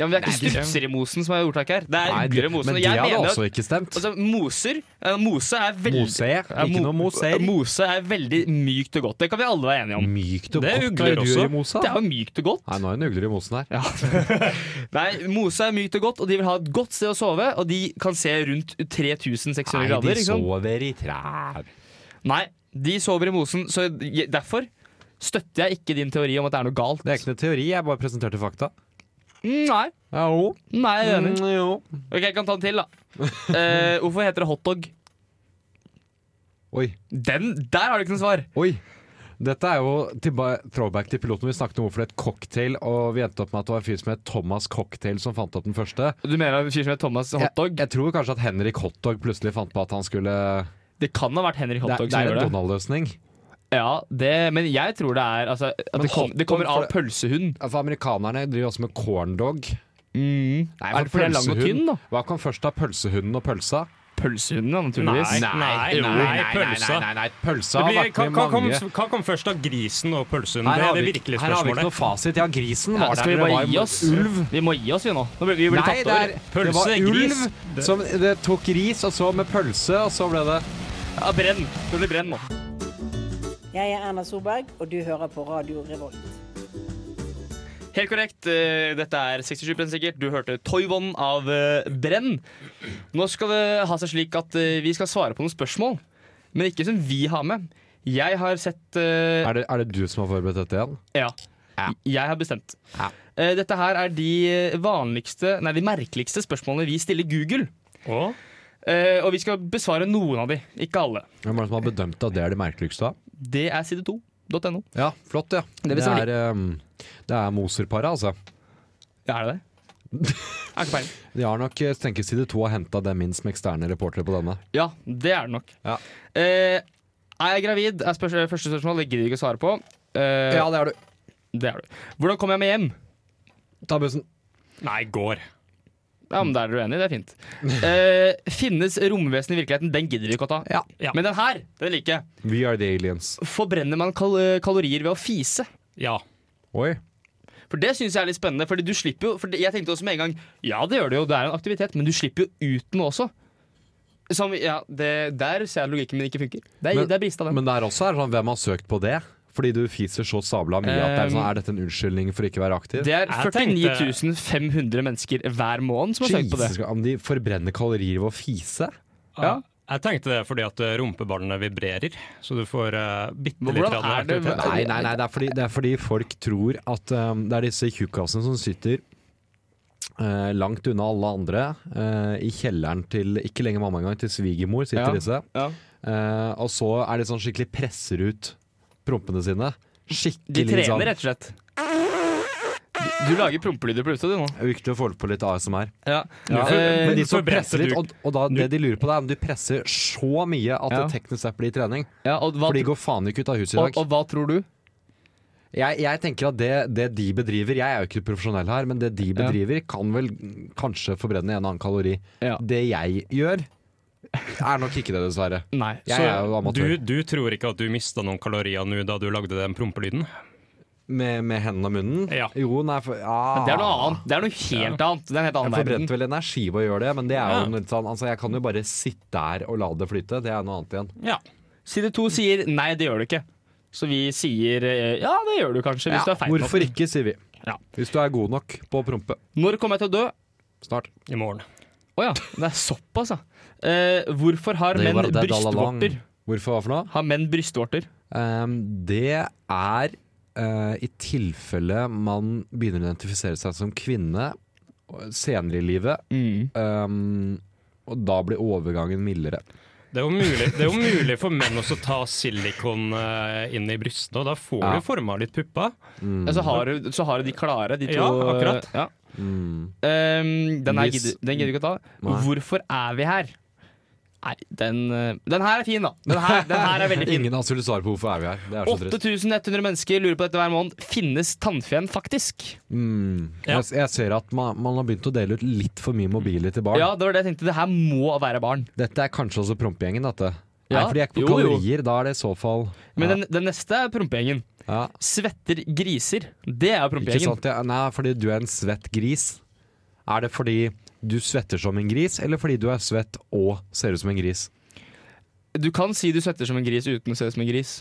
Speaker 2: Ja, men Det er ikke strutser i mosen som er ordtaket her. Det
Speaker 3: Nei,
Speaker 2: er
Speaker 3: du-
Speaker 2: ugler i mosen.
Speaker 3: men
Speaker 2: Og
Speaker 3: det
Speaker 2: jeg
Speaker 3: hadde
Speaker 2: mener
Speaker 3: også
Speaker 2: at
Speaker 3: ikke stemt.
Speaker 2: altså, moser eh, Mose er veldig
Speaker 3: Mose, ikke noe moser.
Speaker 2: Mose er veldig mykt og godt. Det kan vi alle være enige om.
Speaker 3: Mykt og
Speaker 6: Det er
Speaker 3: godt
Speaker 6: ugler
Speaker 3: er
Speaker 6: også.
Speaker 3: du i mosa.
Speaker 2: Det er jo mykt og godt.
Speaker 3: Nei, nå er det en ugler i mosen her.
Speaker 2: Ja. Nei, Mose er mykt og godt, og de vil ha et godt sted å sove. Og de kan se rundt 3600
Speaker 3: Nei,
Speaker 2: grader.
Speaker 3: de
Speaker 2: ikke sant?
Speaker 3: sover i trær.
Speaker 2: Nei, de sover i mosen, så jeg, derfor støtter jeg ikke din teori om at det er noe galt.
Speaker 3: Det er ikke noe teori, jeg bare presenterte fakta.
Speaker 2: Mm, Nei,
Speaker 3: Ja, jo.
Speaker 2: nei, jeg er enig.
Speaker 3: Mm, jo.
Speaker 2: Ok, jeg kan ta den til, da. Eh, hvorfor heter det hotdog?
Speaker 3: Oi,
Speaker 2: Den, der har du ikke noe svar!
Speaker 3: oi. Dette er jo tilba- throwback til piloten vi snakket om hvorfor det het cocktail, og vi endte opp med at det var en fyr som het Thomas Cocktail som fant opp den første.
Speaker 2: Du mener at en fyr som heter Thomas Hotdog?
Speaker 3: Jeg, jeg tror kanskje at Henrik Hotdog plutselig fant på at han skulle
Speaker 2: det kan ha vært Henrik
Speaker 3: Det, er-
Speaker 2: Hotdog
Speaker 3: det
Speaker 2: som
Speaker 3: er
Speaker 2: gjør
Speaker 3: en
Speaker 2: det.
Speaker 3: Donald-løsning.
Speaker 2: Ja, det. Men jeg tror det er altså, at
Speaker 3: Men
Speaker 2: det, kom, det kommer av
Speaker 3: hotdog for
Speaker 2: pølsehund.
Speaker 3: Ja, For Altså, amerikanerne driver også med corndog.
Speaker 2: Mm.
Speaker 3: Nei,
Speaker 2: er det fordi den er lang og tynn, da?
Speaker 3: Hva kom først av pølsehunden og pølsa?
Speaker 2: Pølsehunden, da, naturligvis.
Speaker 6: Nei, nei,
Speaker 2: Jo.
Speaker 6: nei, pølsa.
Speaker 3: nei, nei, pølsa
Speaker 6: Det
Speaker 3: har
Speaker 6: blir,
Speaker 3: vært
Speaker 6: hva,
Speaker 3: med
Speaker 6: hva, kom,
Speaker 3: mange.
Speaker 6: hva kom først av grisen og pølsehunden?
Speaker 3: Her
Speaker 6: Det
Speaker 3: har
Speaker 6: er det
Speaker 3: vi-
Speaker 6: virkelige
Speaker 3: Her har vi ikke
Speaker 6: spørsmålet.
Speaker 3: noe fasit. Ja, grisen
Speaker 2: Ja,
Speaker 3: var der.
Speaker 2: skal vi
Speaker 3: men det
Speaker 2: bare
Speaker 3: var
Speaker 2: gi
Speaker 3: jo
Speaker 2: oss? Vi må gi oss, vi nå. Nå blir vi blir
Speaker 3: Nei,
Speaker 2: tatt
Speaker 3: det,
Speaker 2: over.
Speaker 3: er, det
Speaker 6: Pølse,
Speaker 3: var
Speaker 6: gris.
Speaker 3: ulv som det tok ris, og så med pølse, og så ble det
Speaker 2: Ja, brenn. Det blir brenn nå.
Speaker 8: Jeg er Erna Solberg, og du hører på Radio Revolt.
Speaker 2: Helt korrekt. eh, Dette er 67 sikkert. Du hørte Toivon av eh, Brenn. Nå skal det ha seg slik at eh, vi skal svare på noen spørsmål, men ikke som vi har med. Jeg har sett eh,
Speaker 3: Er det, er det du som har forberedt dette igjen?
Speaker 2: Ja.
Speaker 3: Ja.
Speaker 2: Jeg har bestemt.
Speaker 3: Ja.
Speaker 2: Eh, Dette her er de vanligste, nei, de merkeligste spørsmålene vi stiller Google.
Speaker 6: Å?
Speaker 2: Eh, Og vi skal besvare noen av de, ikke alle.
Speaker 3: Hvem er det som har bedømt at det er det merkeligste? da?
Speaker 2: Det er side2.no.
Speaker 3: Ja, flott, ja. Det,
Speaker 2: bestemmer
Speaker 3: er, ehm, det er Moser-paret, altså.
Speaker 2: Ja, er det det? Jeg har ikke peiling.
Speaker 3: De har nok eh, tenker side to har henta dem inn som eksterne reportere på denne.
Speaker 2: Ja, det er det nok.
Speaker 3: Ja.
Speaker 2: Eh, er jeg gravid? Er spørs første spørsmål. Det gidder vi ikke å svare på. Eh,
Speaker 3: Ja, det er du.
Speaker 2: Det er du. Hvordan kom jeg meg hjem?
Speaker 3: Ta bussen.
Speaker 6: Nei, går.
Speaker 2: Ja, men Der er du enig. Det er fint. Eh, finnes romvesen i virkeligheten? Den gidder vi ikke å ta.
Speaker 3: Ja.
Speaker 6: Ja.
Speaker 2: Men den her, den liker jeg.
Speaker 3: We are the aliens.
Speaker 2: Forbrenner man kal kalorier ved å fise?
Speaker 6: Ja.
Speaker 3: Oi.
Speaker 2: For det syns jeg er litt spennende. Fordi du slipper jo for det- Jeg tenkte også med en gang Ja, det gjør du jo, det er en aktivitet, men du slipper jo ut noe også. Som, ja, det, Der ser jeg logikken min ikke funker. Det er,
Speaker 3: Men-
Speaker 2: det er brista, den.
Speaker 3: Men der også er det sånn, hvem har søkt på det? Fordi du fiser så sabla mye at det er sånn, er dette en unnskyldning for ikke å være aktiv?
Speaker 2: Eh, Det er
Speaker 6: Jeg
Speaker 2: 49 500 mennesker hver måned som har søkt på det.
Speaker 3: Jesus, om de forbrenner kalorier ved å fise?
Speaker 6: Ja. Eh, Jeg tenkte det fordi at eh, rumpeballene vibrerer, så du får uh, bitte
Speaker 2: Men
Speaker 6: litt
Speaker 2: hvordan
Speaker 6: radioaktivitet.
Speaker 2: er det-
Speaker 3: Nei, nei, nei, det er fordi, det er fordi folk tror at um, det er disse tjukkasene som sitter eh, langt unna alle andre, eh, i kjelleren til ikke lenger mamma engang, til svigermor
Speaker 2: Ja,
Speaker 3: sitter disse.
Speaker 2: ja.
Speaker 3: Eh, og så er de sånn skikkelig presser ut prompene sine.
Speaker 2: De
Speaker 3: Skikkelig sånn-
Speaker 2: trener, rett og slett. Du lager prompelyder på utsida, du nå.
Speaker 3: sånn. Viktig å få på litt ASMR.
Speaker 2: Ja.
Speaker 3: Ja,
Speaker 2: Eh,
Speaker 3: men de som
Speaker 6: forbrente
Speaker 3: presser litt, og, og da, det de lurer på, det er om du presser så mye at
Speaker 2: Ja.
Speaker 3: det teknisk sett blir trening.
Speaker 2: ja, og, hva,
Speaker 3: For de går faen ikke ut av huset i
Speaker 2: og,
Speaker 3: dag.
Speaker 2: og hva tror du?
Speaker 3: Jeg, jeg tenker at det, det de bedriver Jeg er jo ikke profesjonell her, men det de bedriver kan vel kanskje forbrenne en og annen kalori.
Speaker 2: Ja.
Speaker 3: Det jeg gjør, er nok ikke det, dessverre.
Speaker 2: Nei.
Speaker 3: Jeg
Speaker 6: Så
Speaker 3: er jo amatør.
Speaker 6: du, du tror ikke at du mista noen kalorier nå da du lagde den prompelyden?
Speaker 3: Med, med hendene og munnen?
Speaker 6: Ja.
Speaker 3: Jo, nei for, ah.
Speaker 2: Det er noe annet. Det er noe helt annet. Det er en helt
Speaker 3: Jeg
Speaker 2: annen verden.
Speaker 3: forbrente vel energi ved å gjøre det, men det er jo
Speaker 6: Ja.
Speaker 3: litt sånn altså, Jeg kan jo bare sitte der og la det flyte. Det er noe annet igjen.
Speaker 6: Ja.
Speaker 2: Side to sier nei, det gjør du ikke. Så vi sier eh, ja, det gjør du kanskje, hvis du er feit
Speaker 3: Hvorfor
Speaker 2: nok.
Speaker 3: ikke, sier vi.
Speaker 2: Ja.
Speaker 3: Hvis du er god nok på å prompe.
Speaker 2: Når kommer jeg til å dø?
Speaker 3: Snart.
Speaker 6: I morgen.
Speaker 2: Å ja, det er såpass, ja. Eh, hvorfor har
Speaker 3: They
Speaker 2: menn
Speaker 3: were dead all along.
Speaker 2: brystvorter?
Speaker 3: Hvorfor hva for noe?
Speaker 2: Har menn brystvorter?
Speaker 3: Ehm, det er eh, i tilfelle man begynner å identifisere seg som kvinne og- senere i livet,
Speaker 2: Mm.
Speaker 3: ehm, og da blir overgangen mildere.
Speaker 6: Det er, jo mulig, det er jo mulig for menn også å ta silikon eh, inn i brystene, og da får
Speaker 3: Ja.
Speaker 6: du forma litt pupper.
Speaker 2: Ja, så, har du, så har du de klare, de to.
Speaker 6: Ja, akkurat.
Speaker 2: Ja. Eh, den, her
Speaker 3: Mm. Hvis-
Speaker 2: gidder, den gidder du ikke å ta.
Speaker 3: Nei.
Speaker 2: Hvorfor er vi her? Nei, den, eh, den her er fin, da. Den her, den her er veldig fin.
Speaker 3: Ingen av oss ville svare på hvorfor er vi her. Det er så trist.
Speaker 2: 8100 mennesker lurer på dette hver måned. Finnes tannfeen faktisk?
Speaker 3: Mm.
Speaker 6: Ja.
Speaker 3: Jeg, jeg ser at man, man har begynt å dele ut litt for mye mobiler til barn.
Speaker 2: Ja, det var det jeg tenkte. Det her må være barn.
Speaker 3: Dette er kanskje også prompegjengen, dette. Nei,
Speaker 2: Ja.
Speaker 3: for de er ikke
Speaker 2: Jo,
Speaker 3: på
Speaker 2: jo.
Speaker 3: kalorier. Da er det i så fall
Speaker 2: Men
Speaker 3: ja.
Speaker 2: den, den neste er prompegjengen.
Speaker 3: Ja.
Speaker 2: Svetter griser. Det er jo
Speaker 3: Ikke
Speaker 2: prompegjengen.
Speaker 3: sant? Ja. Nei, fordi du er en svett gris. Er det fordi du svetter som en gris, eller fordi du er svett og ser ut som en gris?
Speaker 2: Du kan si du svetter som en gris uten å se ut som en gris.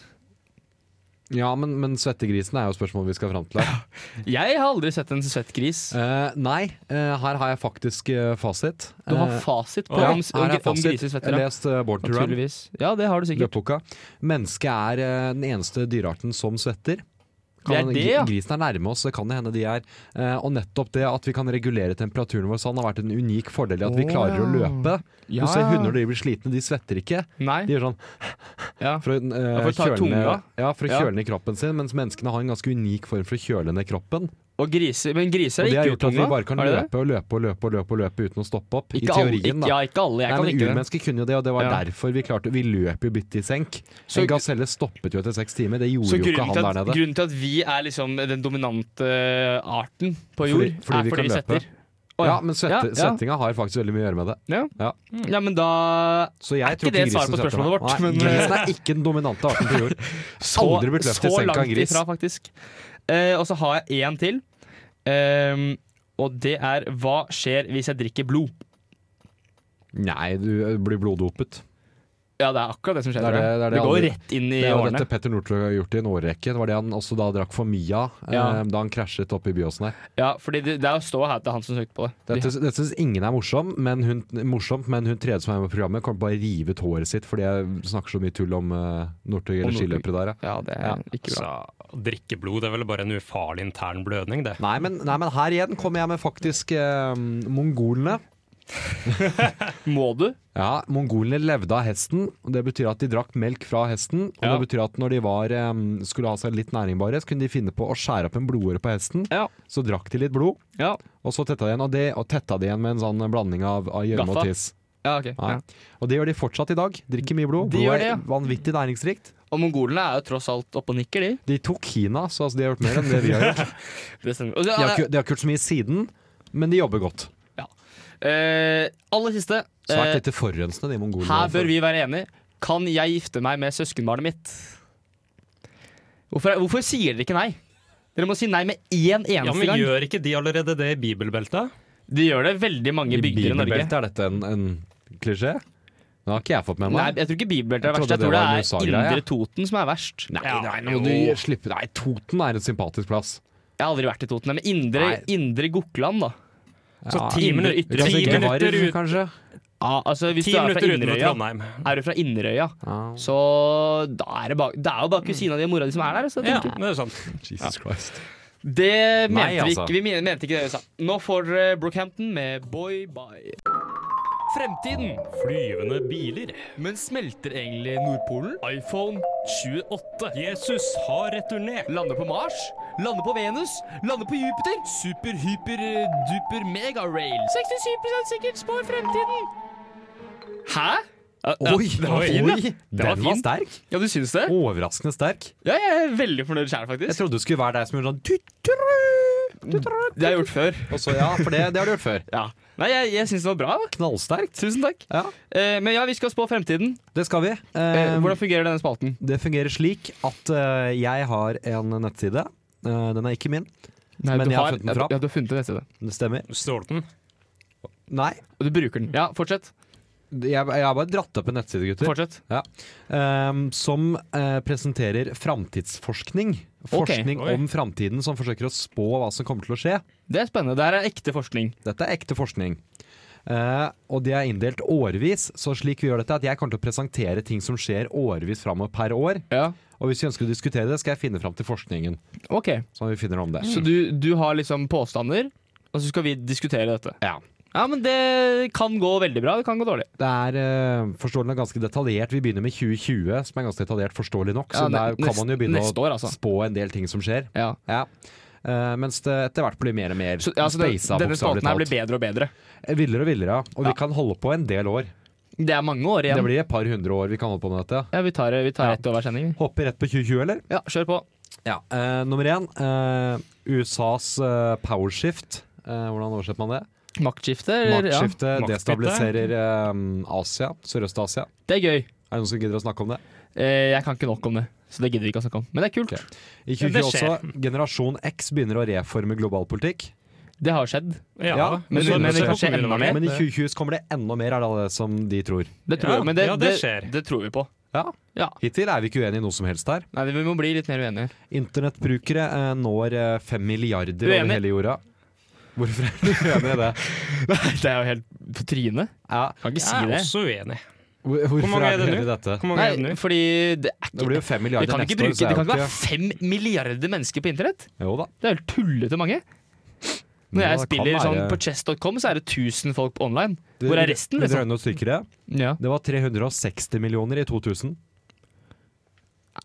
Speaker 3: Ja, men, men svettegrisen er jo spørsmålet vi skal fram til. her.
Speaker 2: Jeg har aldri sett en svett gris.
Speaker 3: Eh, nei, eh, her har jeg faktisk eh, fasit.
Speaker 2: Du har
Speaker 3: Eh,
Speaker 2: fasit på
Speaker 3: ja,
Speaker 2: om,
Speaker 3: her
Speaker 2: om,
Speaker 3: er
Speaker 2: om
Speaker 3: fasit.
Speaker 2: griser
Speaker 3: Jeg
Speaker 2: svetter.
Speaker 3: har
Speaker 2: ja.
Speaker 3: lest eh, Born to Run.
Speaker 2: Naturligvis. Ja, det har du sikkert.
Speaker 3: Løpeboka. Mennesket er eh, den eneste dyrearten som svetter.
Speaker 2: Det er
Speaker 3: Kan-
Speaker 2: det, ja.
Speaker 3: Grisen er nærme oss, det kan det hende de er. Eh, og nettopp det at vi kan regulere temperaturen vår sånn, har vært en unik fordel i at vi
Speaker 2: Å,
Speaker 3: klarer å
Speaker 2: ja.
Speaker 3: løpe.
Speaker 2: Ja.
Speaker 3: Du ser hunder når de blir slitne, de svetter ikke.
Speaker 2: Nei.
Speaker 3: De gjør sånn
Speaker 2: Ja.
Speaker 3: for å, eh,
Speaker 2: Ja, for å ta
Speaker 3: kjøle ned,
Speaker 2: tunga.
Speaker 3: ja, for å
Speaker 2: Ja.
Speaker 3: kjøle ned kroppen sin, mens menneskene har en ganske unik form for å kjøle ned kroppen.
Speaker 2: Og griser, men griser
Speaker 3: Og
Speaker 2: er
Speaker 3: det har
Speaker 2: ikke
Speaker 3: gjort at vi
Speaker 2: utunga.
Speaker 3: bare kan
Speaker 2: Er det det?
Speaker 3: løpe og løpe og løpe og løpe og løpe uten å stoppe opp.
Speaker 2: Ikke
Speaker 3: I teorien,
Speaker 2: alle,
Speaker 3: da.
Speaker 2: ikke, ja, ikke alle. Jeg
Speaker 3: Nei, men
Speaker 2: kan ikke det.
Speaker 3: Urmennesker kunne jo det, og det var
Speaker 2: Ja.
Speaker 3: derfor vi klarte Vi løp jo bytte i senk.
Speaker 2: Så-
Speaker 3: en gaselle stoppet jo etter seks timer. Det gjorde
Speaker 2: Så
Speaker 3: jo ikke
Speaker 2: grunnen
Speaker 3: han
Speaker 2: til,
Speaker 3: der
Speaker 2: at,
Speaker 3: nede.
Speaker 2: grunnen til at vi er liksom den dominante eh, arten på jord,
Speaker 3: Fordi- fordi vi
Speaker 2: er fordi
Speaker 3: kan
Speaker 2: vi
Speaker 3: løpe.
Speaker 2: svetter. Å
Speaker 3: Ja, men svette,
Speaker 2: ja, ja.
Speaker 3: svettinga har faktisk veldig mye å gjøre med det.
Speaker 2: Ja, men da
Speaker 3: Så jeg
Speaker 2: Er
Speaker 3: tror
Speaker 2: ikke det et svar
Speaker 3: grisen
Speaker 2: på
Speaker 3: svetter
Speaker 2: spørsmålet
Speaker 3: meg.
Speaker 2: vårt,
Speaker 3: Nei,
Speaker 2: men- eh,
Speaker 3: grisen er ikke den dominante arten på jord.
Speaker 2: Så,
Speaker 3: Aldri blitt løpt i
Speaker 2: så
Speaker 3: senka
Speaker 2: langt
Speaker 3: en gris.
Speaker 2: ifra, faktisk. Eh, og så har jeg én til. Ehm, og det er hva skjer hvis jeg drikker blod?
Speaker 3: Nei, du eh, blir bloddopet.
Speaker 2: Ja, det er akkurat det som skjer.
Speaker 3: Det er det- det er det
Speaker 2: går
Speaker 3: aldri-
Speaker 2: rett inn i
Speaker 3: Det er jo
Speaker 2: årene.
Speaker 3: dette Petter Northug har gjort i en årrekke. Det var det han også da drakk for mye av, eh,
Speaker 2: Ja.
Speaker 3: da han krasjet oppe i Byåsen her.
Speaker 2: Ja, fordi det, det er å stå her til han som søkte på det.
Speaker 3: Dette, dette syns ingen er morsom, men hun, morsomt, men hun tredje som er med på programmet, kommer bare rive ut håret sitt fordi jeg snakker så mye tull om uh, Northug eller
Speaker 2: Northug.
Speaker 3: skiløpere der, ja.
Speaker 2: Ja, det er
Speaker 3: Ja.
Speaker 2: ikke bra.
Speaker 6: Så drikke blod det er vel bare en ufarlig intern blødning, det.
Speaker 3: Nei men, nei, men her igjen kommer jeg med faktisk eh, mongolene.
Speaker 2: Må du?
Speaker 3: Ja, Mongolene levde av hesten. og Det betyr at de drakk melk fra hesten. Og
Speaker 2: Ja.
Speaker 3: det betyr at når de var, eh, skulle ha seg litt næringbare, så kunne de finne på å skjære opp en blodåre på hesten.
Speaker 2: Ja.
Speaker 3: Så drakk de litt blod,
Speaker 2: Ja,
Speaker 3: og så tetta de igjen, og, det, og tetta de igjen med en sånn blanding av av gjørme og
Speaker 2: Gaffa.
Speaker 3: tiss.
Speaker 2: ja ok.
Speaker 3: Ja.
Speaker 2: Ja.
Speaker 3: Og det gjør de fortsatt i dag. Drikker mye blod.
Speaker 2: De
Speaker 3: Blod
Speaker 2: gjør
Speaker 3: er
Speaker 2: det, ja.
Speaker 3: vanvittig næringsrikt.
Speaker 2: Og mongolene er jo tross alt oppe og nikker, de.
Speaker 3: De tok Kina, så altså, de har gjort mer enn det vi har gjort.
Speaker 2: Det stemmer. Og så-
Speaker 3: De har, ikke- de har ikke gjort så mye siden, men de jobber godt.
Speaker 2: Eh, aller siste.
Speaker 3: Svært
Speaker 2: eh,
Speaker 3: lite forurensende, de mongolene. altså.
Speaker 2: her bør vi være enige. Kan jeg gifte meg med søskenbarnet mitt? Hvorfor, hvorfor sier dere ikke nei? Dere må si nei med én eneste
Speaker 6: Ja, men
Speaker 2: gang.
Speaker 6: Gjør ikke de allerede det i bibelbeltet?
Speaker 2: De gjør det veldig mange
Speaker 3: I
Speaker 2: bygder i Norge.
Speaker 3: bibelbeltet er dette en, en klisjé? Den har ikke jeg fått med
Speaker 2: Nei,
Speaker 3: meg.
Speaker 2: jeg tror ikke bibelbeltet er
Speaker 3: Jeg
Speaker 2: verst. Jeg
Speaker 3: trodde
Speaker 2: tror
Speaker 3: det
Speaker 2: det
Speaker 3: var en
Speaker 2: er
Speaker 3: USA-greie, jeg.
Speaker 2: Indre Toten som er verst.
Speaker 3: Nei,
Speaker 2: Ja.
Speaker 3: nei, nå må du slippe Nei, Toten er en sympatisk plass.
Speaker 2: Jeg har aldri vært i Toten, nei, men Indre,
Speaker 3: Nei.
Speaker 2: indre Gokland, da.
Speaker 6: Så
Speaker 3: Ja,
Speaker 6: ti,
Speaker 2: indre
Speaker 6: minu
Speaker 2: ytre-
Speaker 6: ti
Speaker 2: altså,
Speaker 3: Ikke
Speaker 6: minutter,
Speaker 3: Varg,
Speaker 6: ut,
Speaker 3: kanskje?
Speaker 2: Ja, altså, hvis
Speaker 6: ti
Speaker 2: du er fra
Speaker 6: minutter utenfor
Speaker 2: Inderøya,
Speaker 6: Trondheim.
Speaker 2: er du fra Inderøya,
Speaker 3: Ah,
Speaker 2: så da er det, ba, det er jo bare kusina di og mora di som er der. Så
Speaker 6: Ja,
Speaker 2: tenker jeg.
Speaker 6: det er sant.
Speaker 3: Jesus Christ.
Speaker 2: Det mente
Speaker 3: Nei,
Speaker 2: vi
Speaker 3: altså.
Speaker 2: ikke. Vi men- mente ikke det vi sa. Nå får dere Brookhampton med Boy Bye. Fremtiden.
Speaker 4: Flyvende biler.
Speaker 2: Men smelter egentlig Nordpolen? iPhone 28.
Speaker 4: Jesus har returnert.
Speaker 2: Lande på Mars? Lande på Venus? Lande på Jupiter? Super, hyper, eh, duper, mega rail. 67 sikkert spår fremtiden. Hæ?
Speaker 3: Oi!
Speaker 2: var fin, da.
Speaker 3: oi,
Speaker 2: Den var
Speaker 3: Den var
Speaker 2: fin.
Speaker 3: sterk.
Speaker 2: Ja, du syns det?
Speaker 3: Overraskende sterk.
Speaker 2: Ja, jeg er veldig fornøyd sjæl,
Speaker 3: Jeg
Speaker 2: faktisk.
Speaker 3: trodde det skulle være deg som gjorde sånn tutru, tutru.
Speaker 2: Det har jeg gjort før.
Speaker 3: Og så, ja, for det, det har du gjort før.
Speaker 2: Ja. Nei, jeg, jeg syns det var bra. da.
Speaker 3: Knallsterkt.
Speaker 2: Tusen takk.
Speaker 3: Ja,
Speaker 2: Eh, men ja, vi skal spå fremtiden.
Speaker 3: det skal vi.
Speaker 2: Eh,
Speaker 3: Eh,
Speaker 2: hvordan fungerer denne spalten?
Speaker 3: det fungerer slik at eh, jeg har en nettside. Eh, den er ikke min,
Speaker 2: Nei,
Speaker 3: Men
Speaker 2: du
Speaker 3: jeg har funnet den fra.
Speaker 2: Ja, du har funnet den nettsiden.
Speaker 3: det stemmer.
Speaker 6: Stolten.
Speaker 3: Nei,
Speaker 2: Og du bruker den. Ja, fortsett.
Speaker 3: jeg, jeg har bare dratt opp en nettside, gutter.
Speaker 2: Fortsett.
Speaker 3: Ehm, som eh, presenterer framtidsforskning. Forskning
Speaker 6: oi.
Speaker 3: om framtiden som forsøker å spå hva som kommer til å skje.
Speaker 2: Det er spennende. Det her er ekte forskning.
Speaker 3: Dette er ekte forskning. Eh, og de er inndelt årvis, så slik vi gjør dette er at jeg kommer til å presentere ting som skjer årvis framover per år.
Speaker 2: Ja.
Speaker 3: Og hvis vi ønsker å diskutere det, skal jeg finne fram til forskningen.
Speaker 2: Ok.
Speaker 3: Så vi finner om det.
Speaker 2: Så du, du har liksom påstander, og så skal vi diskutere dette.
Speaker 3: Ja.
Speaker 2: Ja, men det kan gå veldig bra, det kan gå dårlig.
Speaker 3: Det er eh, forståelig nok ganske detaljert. Vi begynner med 2020, som er ganske detaljert, forståelig nok. Så
Speaker 2: Ja, ne-
Speaker 3: der kan man jo begynne
Speaker 2: neste
Speaker 3: å
Speaker 2: år, altså.
Speaker 3: spå en del ting som skjer.
Speaker 2: Ja.
Speaker 3: Ja. Eh, mens det etter hvert blir mer og mer
Speaker 2: Så, ja, så den,
Speaker 3: spasa,
Speaker 2: denne
Speaker 3: bokstavelig
Speaker 2: spalten her blir
Speaker 3: talt. Eh,
Speaker 2: bedre og bedre.
Speaker 3: Villere og villere, ja. Og
Speaker 2: Ja.
Speaker 3: vi kan holde på en del år.
Speaker 2: Det er mange år
Speaker 3: Det
Speaker 2: igjen.
Speaker 3: blir et par hundre år vi kan holde på med dette.
Speaker 2: Ja, Vi tar, vi tar
Speaker 3: Ja.
Speaker 2: ett år hver sending. vi.
Speaker 3: Hopper rett på 2020, eller?
Speaker 2: Ja, kjør på.
Speaker 3: Ja, eh, Nummer én, eh, USAs eh, powershift. Eh, hvordan oversetter man det?
Speaker 2: Maktskifte? eller-
Speaker 3: Maktskifte
Speaker 6: maktbytte.
Speaker 3: destabiliserer eh, Asia, Sørøst-Asia.
Speaker 2: Ja. Det er gøy.
Speaker 3: Er det noen som gidder å snakke om det?
Speaker 2: Eh, Jeg kan ikke nok om det, så det gidder vi ikke å snakke om. Men det er kult.
Speaker 3: Ok. I
Speaker 6: Ja, det
Speaker 3: 2020 også, generasjon X begynner å reforme global politikk.
Speaker 2: Det har skjedd.
Speaker 6: Ja,
Speaker 3: Ja,
Speaker 2: men-
Speaker 6: så-
Speaker 2: men
Speaker 6: så kommer
Speaker 2: kanskje
Speaker 6: vi
Speaker 2: enda
Speaker 6: noe med.
Speaker 2: mer.
Speaker 3: Men i 2020 så kommer det enda mer, er det alle som de tror.
Speaker 2: Det tror
Speaker 6: Ja,
Speaker 2: jeg, men det,
Speaker 6: ja, det skjer.
Speaker 2: Det, det tror vi på.
Speaker 3: Ja.
Speaker 2: Ja.
Speaker 3: Hittil er vi ikke uenige i noe som helst her.
Speaker 2: Nei, Vi må bli litt mer uenige.
Speaker 3: Internettbrukere eh, når eh, fem milliarder
Speaker 2: Uenig.
Speaker 3: over hele jorda. Hvorfor er du uenig i det?
Speaker 2: Det er jo helt på trynet.
Speaker 3: Ja.
Speaker 2: Kan ikke si
Speaker 6: Jeg er
Speaker 2: det.
Speaker 6: også uenig.
Speaker 3: hvor- Hvorfor
Speaker 6: mange
Speaker 3: er
Speaker 6: er
Speaker 3: du
Speaker 6: det
Speaker 3: uenig i dette?
Speaker 6: Hvor mange er det
Speaker 2: Nei, altså,
Speaker 6: nå?
Speaker 2: fordi det er
Speaker 3: Det
Speaker 2: ikke
Speaker 3: blir jo fem
Speaker 2: Vi
Speaker 3: milliarder
Speaker 2: kan ikke
Speaker 3: neste år.
Speaker 2: bruke,
Speaker 3: så er
Speaker 2: det kan
Speaker 3: jo
Speaker 2: ikke være fem milliarder mennesker på internett.
Speaker 3: Jo da.
Speaker 2: Det er jo tullete mange. Når
Speaker 3: Ja,
Speaker 2: jeg
Speaker 3: det kan
Speaker 2: spiller sånn
Speaker 3: være-
Speaker 2: på chess.com, så er det 1000 folk online. Hvor er resten,
Speaker 3: Det
Speaker 2: liksom?
Speaker 3: drøyer noe sykere.
Speaker 2: Ja.
Speaker 3: Det var 360 millioner i 2000.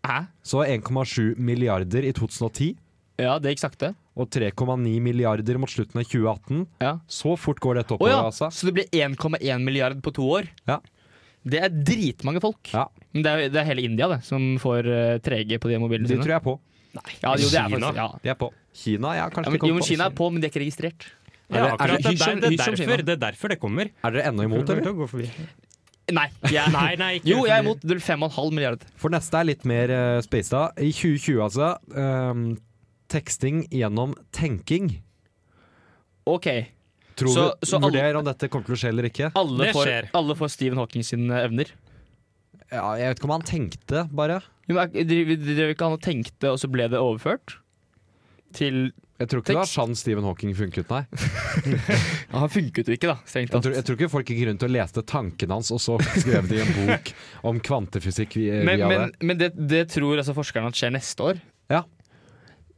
Speaker 2: Hæ?
Speaker 3: Så 1,7 milliarder i 2010.
Speaker 2: Ja, det gikk sakte.
Speaker 3: Og 3,9 milliarder mot slutten av 2018.
Speaker 2: Ja.
Speaker 3: Så fort går dette
Speaker 2: Å
Speaker 3: oppover,
Speaker 2: ja,
Speaker 3: altså.
Speaker 2: så det blir 1,1 milliard på to år.
Speaker 3: Ja.
Speaker 2: Det er dritmange folk.
Speaker 3: Ja.
Speaker 2: Men det er, det er hele India det, som får eh, 3G på de mobilene
Speaker 3: De
Speaker 2: sine.
Speaker 3: tror jeg er på.
Speaker 2: Ja, jo, det er
Speaker 6: Kina.
Speaker 2: faktisk, ja.
Speaker 3: De er på. Kina, ja, kanskje
Speaker 2: Ja,
Speaker 3: de
Speaker 2: men,
Speaker 3: kommer
Speaker 2: jo, men
Speaker 3: på.
Speaker 2: Kina er på, men de er ikke registrert.
Speaker 3: Er
Speaker 6: Ja,
Speaker 3: det- er
Speaker 6: akkurat. Det er
Speaker 2: det-
Speaker 6: der- det er
Speaker 2: Hysj om Kina.
Speaker 6: derfor- det er derfor det kommer.
Speaker 3: Er dere ennå imot, eller?
Speaker 2: Nei. Jeg,
Speaker 6: Nei, nei, ikke
Speaker 2: Jo, jeg er
Speaker 6: fordi-
Speaker 2: imot 5,5 milliard.
Speaker 3: For neste er litt mer uh, spaced. I 2020, altså. ehm, teksting gjennom tenking.
Speaker 2: OK.
Speaker 3: Tror
Speaker 2: Så-
Speaker 3: du
Speaker 2: så alle-
Speaker 3: Vurder om dette kommer til å skje eller ikke.
Speaker 2: Alle
Speaker 6: Det
Speaker 2: får,
Speaker 6: skjer.
Speaker 2: alle får Stephen Hawking sine evner.
Speaker 3: Ja, jeg vet ikke om han tenkte, bare.
Speaker 2: Jo, men er- Drev drev ikke han og tenkte, og så ble det overført? Til
Speaker 3: Jeg tror ikke det var
Speaker 2: Tekst.
Speaker 3: sånn Stephen Hawking funket, nei.
Speaker 2: Ja, Han funket jo ikke, da. Strengt
Speaker 3: Jeg
Speaker 2: tatt.
Speaker 3: tror, jeg tror ikke folk gikk rundt og leste tankene hans, og så skrev de en bok om kvantefysikk vi- via
Speaker 2: Men, men,
Speaker 3: det.
Speaker 2: men det, det tror altså forskerne at skjer neste år.
Speaker 3: Ja.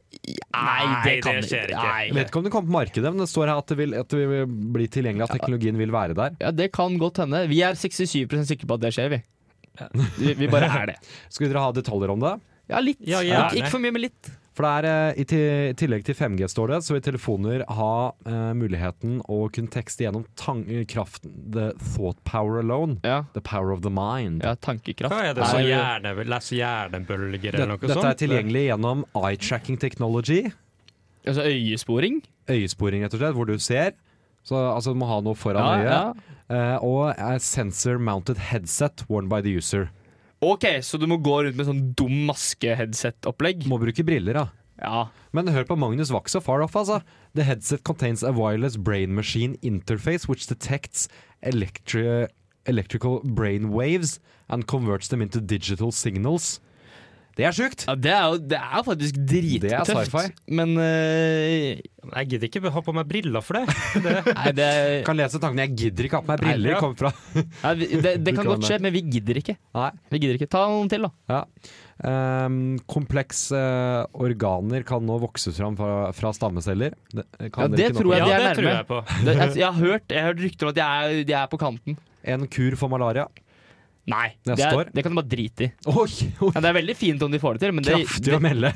Speaker 2: Nei, det,
Speaker 6: Nei,
Speaker 2: kan
Speaker 6: det skjer ikke.
Speaker 2: Nei.
Speaker 3: Jeg vet ikke om det kommer på markedet, men det står her at det vil, at det vil bli tilgjengelig, at teknologien vil være der.
Speaker 2: Ja, det kan godt hende. Vi er 67 sikre på at det skjer, vi. Vi, vi bare er det.
Speaker 3: Skulle dere ha detaljer om det?
Speaker 2: Ja, litt.
Speaker 6: Ja,
Speaker 2: Ikke-
Speaker 6: gjerne.
Speaker 2: Ikke for mye, men litt.
Speaker 3: For det er, eh, i, til, I tillegg til 5G står det, så vil telefoner ha eh, muligheten å kunne tekste gjennom tang kraften The thought power alone.
Speaker 2: Ja,
Speaker 3: The power of the mind.
Speaker 2: ja tankekraft.
Speaker 6: Hva er sånn det
Speaker 2: Nei,
Speaker 6: som
Speaker 2: vi-
Speaker 6: hjerne, leser hjernebølger
Speaker 3: Det,
Speaker 6: eller noe
Speaker 3: dette er
Speaker 6: sånt?
Speaker 3: tilgjengelig gjennom eye tracking technology.
Speaker 2: Altså øyesporing.
Speaker 3: Øyesporing, rett og slett, hvor du ser. Så altså, du må ha noe foran
Speaker 2: Ja,
Speaker 3: øyet.
Speaker 2: ja.
Speaker 3: Eh, og er sensor mounted headset worn by the user.
Speaker 2: OK, så du må gå rundt med sånn dum maske-headset-opplegg?
Speaker 3: Må bruke briller, da.
Speaker 2: Ja.
Speaker 3: Men hør på Magnus Wax og Faroff, altså. The headset contains a wireless brain machine interface which detects electri electrical brain waves and converts them into digital signals. Det er sjukt!
Speaker 2: ja det, er jo, det er jo faktisk drittøft.
Speaker 3: Det er sci-fi.
Speaker 2: Men øh,
Speaker 6: Jeg gidder ikke ha på meg briller for det.
Speaker 2: Nei, det,
Speaker 3: Kan lese tankene. Jeg gidder ikke ha på meg
Speaker 2: Nei,
Speaker 3: briller.
Speaker 2: ja.
Speaker 3: Kom fra.
Speaker 2: nei, vi- det, det kan
Speaker 3: Du kan
Speaker 2: godt skje, men vi gidder ikke.
Speaker 3: Nei.
Speaker 2: Vi gidder ikke. Ta noen til, da.
Speaker 3: Ja. Ehm, kompleks eh, organer kan nå vokse fram fra, fra stammeceller. Det, eh, kan
Speaker 2: Ja,
Speaker 3: dere
Speaker 2: det
Speaker 3: ikke noe
Speaker 2: tror
Speaker 3: om.
Speaker 2: jeg
Speaker 6: Ja,
Speaker 2: de er
Speaker 6: det tror
Speaker 2: nærme.
Speaker 6: jeg på.
Speaker 2: Det, jeg, jeg har hørt, jeg har hørt rykter om at de er, de er på kanten.
Speaker 3: En kur for malaria.
Speaker 2: Nei, det,
Speaker 3: Neste
Speaker 2: er,
Speaker 3: år?
Speaker 2: det kan du bare drite i.
Speaker 3: Oi, oi,
Speaker 2: Ja, det er veldig fint om de får det til, men det,
Speaker 3: kraftig å melde!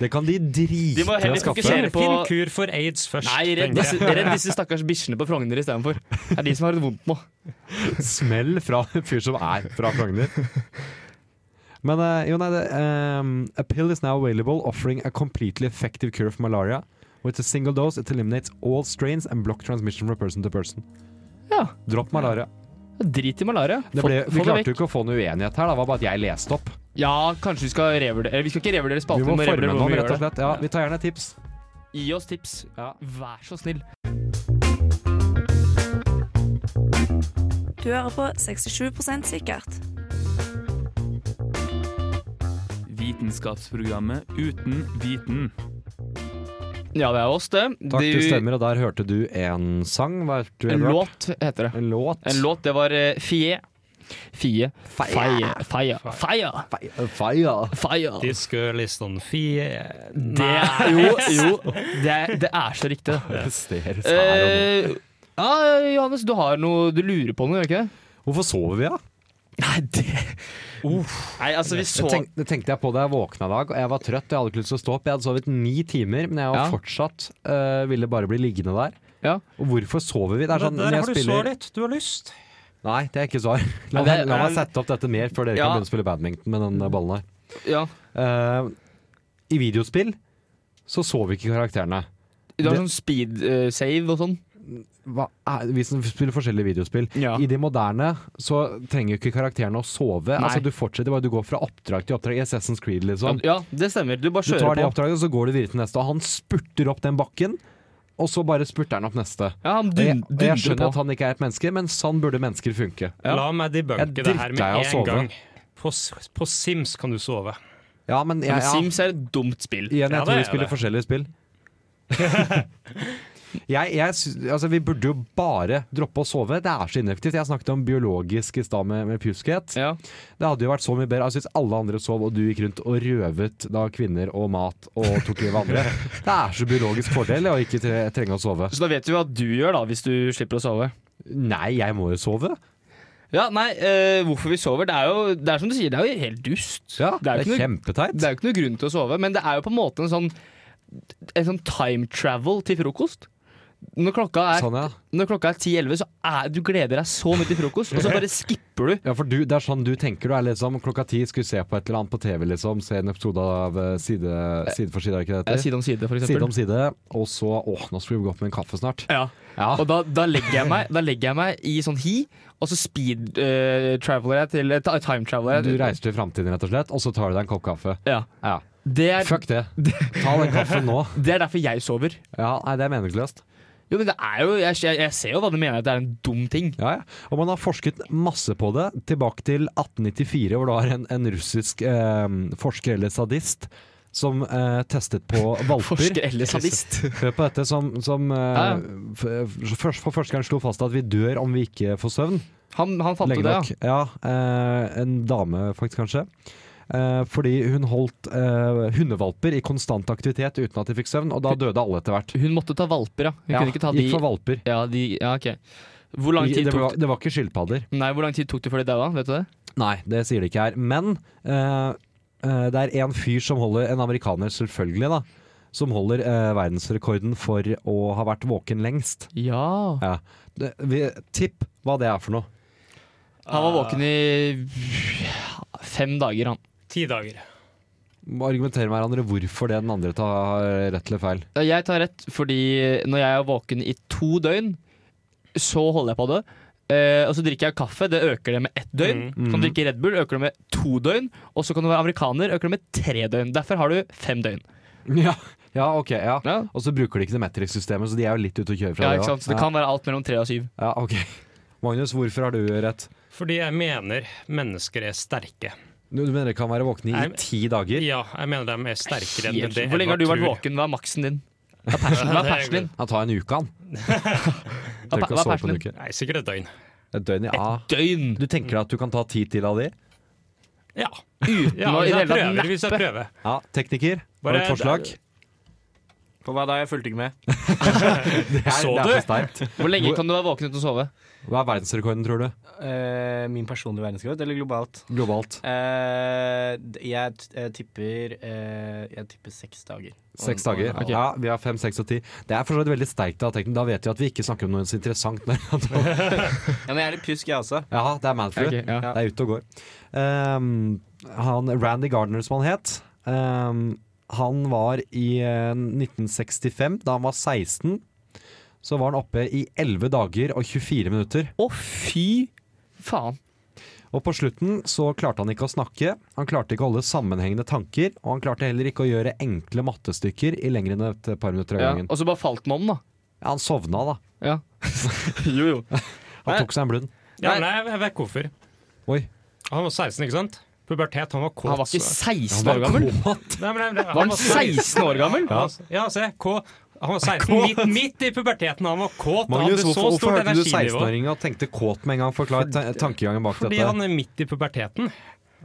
Speaker 3: Det kan de drite
Speaker 2: De må heller
Speaker 3: i å skaffe.
Speaker 2: fokusere-
Speaker 6: Finn,
Speaker 2: På-
Speaker 6: finn kur for aids først.
Speaker 2: Nei, redd
Speaker 6: tenker jeg.
Speaker 2: disse, redd disse stakkars bikkjene på Frogner istedenfor. Det er de som har det vondt nå.
Speaker 3: Smell fra en fyr som er fra Frogner. Men eh, jo, nei, det, ehm, A pill is now available offering a completely effective cure of malaria. With a single dose it eliminates all strains and block transmission from person to person.
Speaker 2: Ja,
Speaker 3: Dropp malaria.
Speaker 2: Drit i malaria.
Speaker 3: Det
Speaker 2: Få-
Speaker 3: ble,
Speaker 2: få
Speaker 3: vi
Speaker 2: det
Speaker 3: klarte
Speaker 2: vekk.
Speaker 3: jo ikke å få noe uenighet her, da. det var bare at jeg leste opp.
Speaker 2: Ja, kanskje vi skal revurdere Eller vi skal ikke revurdere
Speaker 3: Vi
Speaker 2: spalten,
Speaker 3: må
Speaker 2: vi må
Speaker 3: forme
Speaker 2: revurdere hvordan
Speaker 3: noen,
Speaker 2: vi
Speaker 3: rett
Speaker 2: gjør
Speaker 3: og
Speaker 2: det.
Speaker 3: slett. Ja, vi tar gjerne tips.
Speaker 2: Gi oss tips. Vær så snill.
Speaker 9: Du hører på 67 sikkert.
Speaker 10: Vitenskapsprogrammet uten viten.
Speaker 2: Ja, det er oss, det.
Speaker 3: Takk,
Speaker 2: Du-
Speaker 3: det stemmer. Og der hørte du en sang. Hva hørte du?
Speaker 2: En
Speaker 3: Edvard?
Speaker 2: låt, heter det.
Speaker 3: En låt.
Speaker 2: En låt, det var eh, Fie. Fie. Feie. Feie. Feie.
Speaker 3: Fe- Feia.
Speaker 2: Feie.
Speaker 6: Tyske listen fie...
Speaker 2: Det er jo, jo det, er, det er så riktig, det.
Speaker 3: Presteres her og nå.
Speaker 2: Eh, ja, Johannes, du har noe Du lurer på noe, gjør du ikke det?
Speaker 3: Hvorfor sover vi, da?
Speaker 2: Nei, det Nei, altså, vi så
Speaker 3: Det, tenk, det tenkte jeg på da jeg våkna i dag, og jeg var trøtt. Jeg hadde ikke lyst til å stå opp. Jeg hadde sovet ni timer, men jeg var
Speaker 2: Ja.
Speaker 3: fortsatt øh, ville bare bli liggende der.
Speaker 2: Ja.
Speaker 3: Og hvorfor sover vi? Det er sånn
Speaker 6: der
Speaker 3: når
Speaker 6: har
Speaker 3: jeg
Speaker 6: du
Speaker 3: spiller
Speaker 6: så litt. Du har lyst.
Speaker 3: Nei, det er ikke svar. La,
Speaker 2: Nei, det er-
Speaker 3: meg- la meg sette opp dette mer før dere
Speaker 2: Ja.
Speaker 3: kan begynne å spille badminton med den eh, ballen her.
Speaker 2: Ja.
Speaker 3: Eh, I videospill så sover ikke karakterene.
Speaker 2: Du har
Speaker 3: Det-
Speaker 2: sånn speed eh, save og sånn.
Speaker 3: Hva er, vi som spiller forskjellige videospill.
Speaker 2: Ja.
Speaker 3: I de moderne så trenger jo ikke karakterene å sove. Altså Du fortsetter bare, du går fra oppdrag til oppdrag. I Assassin's Creed, liksom.
Speaker 2: Ja, det stemmer. Du bare
Speaker 3: Du tar
Speaker 2: kjører
Speaker 3: det
Speaker 2: på.
Speaker 3: oppdraget, og så går du videre til neste. Og han spurter opp den bakken, og så bare spurter han opp neste.
Speaker 2: Ja, han
Speaker 3: Og jeg,
Speaker 2: dun,
Speaker 3: og jeg
Speaker 2: dundrer
Speaker 3: skjønner
Speaker 2: på.
Speaker 3: at han ikke er et menneske, men sånn burde mennesker funke.
Speaker 6: La meg
Speaker 3: Jeg
Speaker 6: debunke det her
Speaker 3: driter i å
Speaker 6: med
Speaker 3: sove.
Speaker 6: en gang. På, s- på Sims kan du sove.
Speaker 3: Ja, men jeg,
Speaker 2: Men
Speaker 3: ja,
Speaker 2: Sims er et dumt spill.
Speaker 3: igjen, jeg
Speaker 6: Ja, det
Speaker 3: tror
Speaker 6: er
Speaker 3: vi spiller
Speaker 6: det.
Speaker 3: forskjellige spill. jeg, jeg, sy- altså, vi burde jo bare droppe å sove. Det er så ineffektivt. Jeg snakket om biologisk i stad med, med Pusket.
Speaker 2: Ja.
Speaker 3: Det hadde jo vært så mye bedre. Jeg syns alle andre sov, og du gikk rundt og røvet da kvinner og mat og tok livet av andre. Det er så biologisk fordel å ikke tre trenge å sove.
Speaker 2: Så da vet vi hva du gjør, da, hvis du slipper å sove.
Speaker 3: Nei, jeg må jo sove.
Speaker 2: Ja, nei, eh, hvorfor vi sover, det er jo det er som du sier, det er jo helt dust.
Speaker 3: Ja,
Speaker 2: Det er jo ikke noe-
Speaker 3: kjempeteit.
Speaker 2: Det er jo ikke noe grunn til å sove, men det er jo på en måte en sånn, en sånn time travel til frokost. Når klokka er,
Speaker 3: Sånn, ja.
Speaker 2: når klokka er 10-11, så er, du gleder deg så mye til frokost, og så bare skipper du.
Speaker 3: Ja, for du, Det er sånn du tenker. Du er liksom klokka ti, skulle se på et eller annet på TV. liksom Se en episode av eh, Side, side for side, er ikke det
Speaker 2: Eh,
Speaker 3: det heter?
Speaker 2: Side om side, for
Speaker 3: Side
Speaker 2: eksempel.
Speaker 3: om side. Og så åh, nå skulle vi gå opp med en kaffe snart.
Speaker 2: Ja.
Speaker 3: Ja,
Speaker 2: Og da, da, legger jeg meg, da legger jeg meg i sånn hi, og så speed eh, traveler jeg til eh, ta- time traveler
Speaker 3: Du
Speaker 2: jeg.
Speaker 3: reiser til framtiden, rett og slett, og så tar du deg en kopp kaffe.
Speaker 2: Ja.
Speaker 3: Ja.
Speaker 2: Det er,
Speaker 3: Fuck det. Ta den kaffen nå.
Speaker 2: det er derfor jeg sover.
Speaker 3: Ja, nei, Det er meningsløst.
Speaker 2: Jo, men det er jo, jeg, jeg, jeg ser jo hva du mener, at det er en dum ting.
Speaker 3: Ja, ja. Og man har forsket masse på det, tilbake til 1894, hvor det var en, en russisk eh, forsker eller sadist som eh, testet på valper.
Speaker 2: Forsker eller sadist.
Speaker 3: Hør på dette som, som eh,
Speaker 2: Ja, ja.
Speaker 3: f- eh, først- For forskeren slo fast at vi dør om vi ikke får søvn
Speaker 2: Han, han fant jo
Speaker 3: lenge
Speaker 2: det,
Speaker 3: nok.
Speaker 2: ja.
Speaker 3: Ja, eh, en dame faktisk, kanskje. Eh, fordi hun holdt eh, hundevalper i konstant aktivitet uten at de fikk søvn, og da døde alle etter hvert.
Speaker 2: Hun måtte ta valper, ja. Hun
Speaker 3: Ja,
Speaker 2: kunne ikke ta de
Speaker 3: Gikk for valper.
Speaker 2: Ja, de, ja ok. Hvor lang,
Speaker 3: I-
Speaker 2: tid
Speaker 3: Det
Speaker 2: tok,
Speaker 3: var, det var ikke skilpadder.
Speaker 2: nei, hvor lang tid tok det før de daua? Vet du det?
Speaker 3: Nei, det sier det ikke her. Men eh, eh, det er en fyr som holder, en amerikaner selvfølgelig, da, som holder eh, verdensrekorden for å ha vært våken lengst.
Speaker 2: Ja.
Speaker 3: Ja. Det, vi, tipp hva det er for noe.
Speaker 2: Han var våken i fem dager, han.
Speaker 6: Ti dager.
Speaker 3: Må argumentere med hverandre hvorfor det den andre tar rett eller feil.
Speaker 2: Jeg tar rett, fordi når jeg er våken i to døgn, så holder jeg på det. Eh, og så drikker jeg kaffe, det øker det med ett døgn. Kan
Speaker 3: Mm.
Speaker 2: du drikke Red Bull, øker det med to døgn. Og så kan du være amerikaner, øker det med tre døgn. Derfor har du fem døgn.
Speaker 3: Ja, ja ok. Ja.
Speaker 2: Ja,
Speaker 3: Og så bruker de ikke det metric-systemet, så de er jo litt ute å kjøre fra
Speaker 2: ja
Speaker 3: det.
Speaker 2: ikke sant? Så det
Speaker 3: også.
Speaker 2: kan være alt mellom tre og syv.
Speaker 3: Ja, ok. Magnus, hvorfor har du rett?
Speaker 6: Fordi jeg mener mennesker er sterke.
Speaker 3: Du du mener det kan være våkne i
Speaker 6: Nei, men-
Speaker 3: ti dager?
Speaker 6: Ja, jeg mener de er sterkere enn det
Speaker 2: Hvor lenge har du vært våken? Hva er maksen din? Hva er persen, Hva er persen din?
Speaker 3: Han tar en uke, han.
Speaker 2: Hva
Speaker 3: Trenger
Speaker 2: er
Speaker 3: ikke å sove på
Speaker 2: persen
Speaker 3: en
Speaker 2: din?
Speaker 3: uke.
Speaker 6: Nei, sikkert et døgn.
Speaker 3: Et døgn, ja.
Speaker 2: Døgn!
Speaker 3: Du tenker at du kan ta ti til av de?
Speaker 6: Ja.
Speaker 2: Uten
Speaker 6: ja
Speaker 2: å
Speaker 6: hvis, jeg
Speaker 2: i det hele tatt
Speaker 6: prøver,
Speaker 2: nappe.
Speaker 6: hvis jeg prøver.
Speaker 3: Ja, tekniker, har
Speaker 6: Bare-
Speaker 3: du et forslag?
Speaker 11: For hva da? Jeg fulgte ikke med.
Speaker 3: Det er,
Speaker 11: Så
Speaker 3: det
Speaker 11: du?
Speaker 3: er for sterkt.
Speaker 2: Hvor lenge kan du være våken uten å sove?
Speaker 3: Hva er verdensrekorden, tror du?
Speaker 11: Eh, min personlige verdensrekord, eller globalt?
Speaker 3: Globalt.
Speaker 11: Eh, d- jeg, t- eh, tipper eh, Jeg tipper seks dager.
Speaker 3: Seks
Speaker 11: Og- og en
Speaker 3: dager.
Speaker 11: halv.
Speaker 3: Ja, vi har fem, seks og ti. Det er for så vidt veldig sterkt. Da, Tekno. da vet vi at vi ikke snakker om noe så interessant. Når
Speaker 11: Ja, men jeg er litt pjusk, jeg også.
Speaker 3: Ja, det er Manfrew.
Speaker 11: Ok, ja.
Speaker 3: Det er ute og går. Ehm, han, Randy Gardner, som han het, ehm, han var i eh, 1965, da han var 16, så var han oppe i 11 dager og 24 minutter.
Speaker 2: Å, fy faen!
Speaker 3: Og på slutten så klarte han ikke å snakke, han klarte ikke å holde sammenhengende tanker, og han klarte heller ikke å gjøre enkle mattestykker i lenger enn et par minutter av
Speaker 2: Ja,
Speaker 3: gangen.
Speaker 2: og så bare falt mannen, da.
Speaker 3: Ja, han sovna, da.
Speaker 2: Ja. jo, jo.
Speaker 3: Han tok seg en blund.
Speaker 6: Ja, men jeg, jeg vet hvorfor.
Speaker 3: Oi.
Speaker 6: Han var 16, ikke sant? Pubertet, han var kåt.
Speaker 2: Han var ikke
Speaker 6: så-
Speaker 2: 16 år gammel.
Speaker 6: Nei, men, nei,
Speaker 2: Var han 16 år gammel?
Speaker 6: Ja, ja se. K han var 16,
Speaker 2: Kåt.
Speaker 6: midt, midt i puberteten. Han var kåt. han hadde
Speaker 3: Magnus, hvorfor,
Speaker 6: så
Speaker 3: hvorfor
Speaker 6: stort
Speaker 3: hørte du
Speaker 6: energinivå.
Speaker 3: 16-åringen og tenkte kåt med en gang? Forklar ta- tankegangen bak
Speaker 6: Fordi
Speaker 3: dette.
Speaker 6: han er midt i puberteten.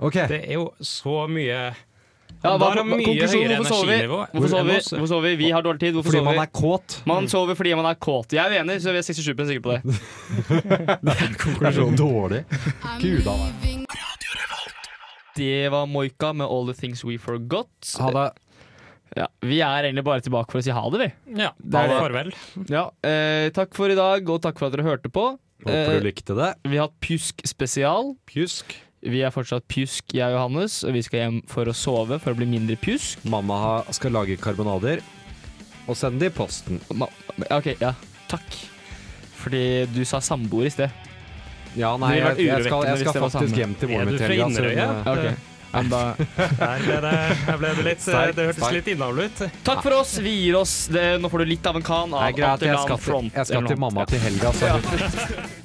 Speaker 3: Ok.
Speaker 6: Det er jo så mye
Speaker 2: Ja,
Speaker 6: Han
Speaker 2: hva,
Speaker 6: var av
Speaker 2: hva,
Speaker 6: mye
Speaker 2: konklusjon,
Speaker 6: høyere
Speaker 2: hvorfor sover vi?
Speaker 6: energinivå
Speaker 2: Hvorfor
Speaker 6: enn
Speaker 2: sover vi?
Speaker 6: oss.
Speaker 2: Hvorfor sover vi? Vi har dårlig tid. Hvorfor
Speaker 3: Fordi
Speaker 2: sover
Speaker 3: man
Speaker 2: vi?
Speaker 3: er kåt.
Speaker 2: Man sover fordi man er kåt. Jeg er uenig, så vi er 67 sikre på det.
Speaker 3: Det er så dårlig. Gud a meg.
Speaker 2: Det var Moika med 'All the Things We Forgot'.
Speaker 3: Ha det.
Speaker 2: Ja, vi er egentlig bare tilbake for å si ha det, vi.
Speaker 6: Ja,
Speaker 2: Det er
Speaker 6: da
Speaker 2: det.
Speaker 6: farvel.
Speaker 2: Ja, eh, Takk for i dag, og takk for at dere hørte på. Eh,
Speaker 3: Håper du likte det.
Speaker 2: Vi har hatt Pjusk spesial.
Speaker 3: Pjusk.
Speaker 2: Vi er fortsatt pjusk, jeg og Johannes, og vi skal hjem for å sove for å bli mindre pjusk.
Speaker 3: Mamma ha- skal lage karbonader og sende det i posten.
Speaker 2: Ma- Ok, ja. Takk. Fordi du sa samboer i sted.
Speaker 3: Ja,
Speaker 2: Det
Speaker 3: nei,
Speaker 2: ville vært
Speaker 3: jeg, jeg skal,
Speaker 2: urovekkende
Speaker 3: jeg
Speaker 2: hvis det
Speaker 3: skal
Speaker 2: var
Speaker 3: faktisk
Speaker 2: samme.
Speaker 3: hjem til
Speaker 6: Er
Speaker 3: moren min
Speaker 6: du
Speaker 3: til
Speaker 6: fra
Speaker 3: helga. så hun,
Speaker 6: Inderøya?
Speaker 3: eh,
Speaker 2: Ok, men da...
Speaker 6: Der ble det, her ble det litt
Speaker 3: Sterkt,
Speaker 6: Det hørtes
Speaker 3: sterkt.
Speaker 6: litt innavlet ut.
Speaker 2: Takk for oss. Vi gir oss. Det, nå får du litt av en kan
Speaker 3: Nei,
Speaker 2: av
Speaker 3: greit, jeg
Speaker 2: Antelan
Speaker 3: skal til,
Speaker 2: Front.
Speaker 3: jeg skal
Speaker 2: eller
Speaker 3: til
Speaker 2: noe annet.
Speaker 3: mamma til helga. Så.
Speaker 2: Ja.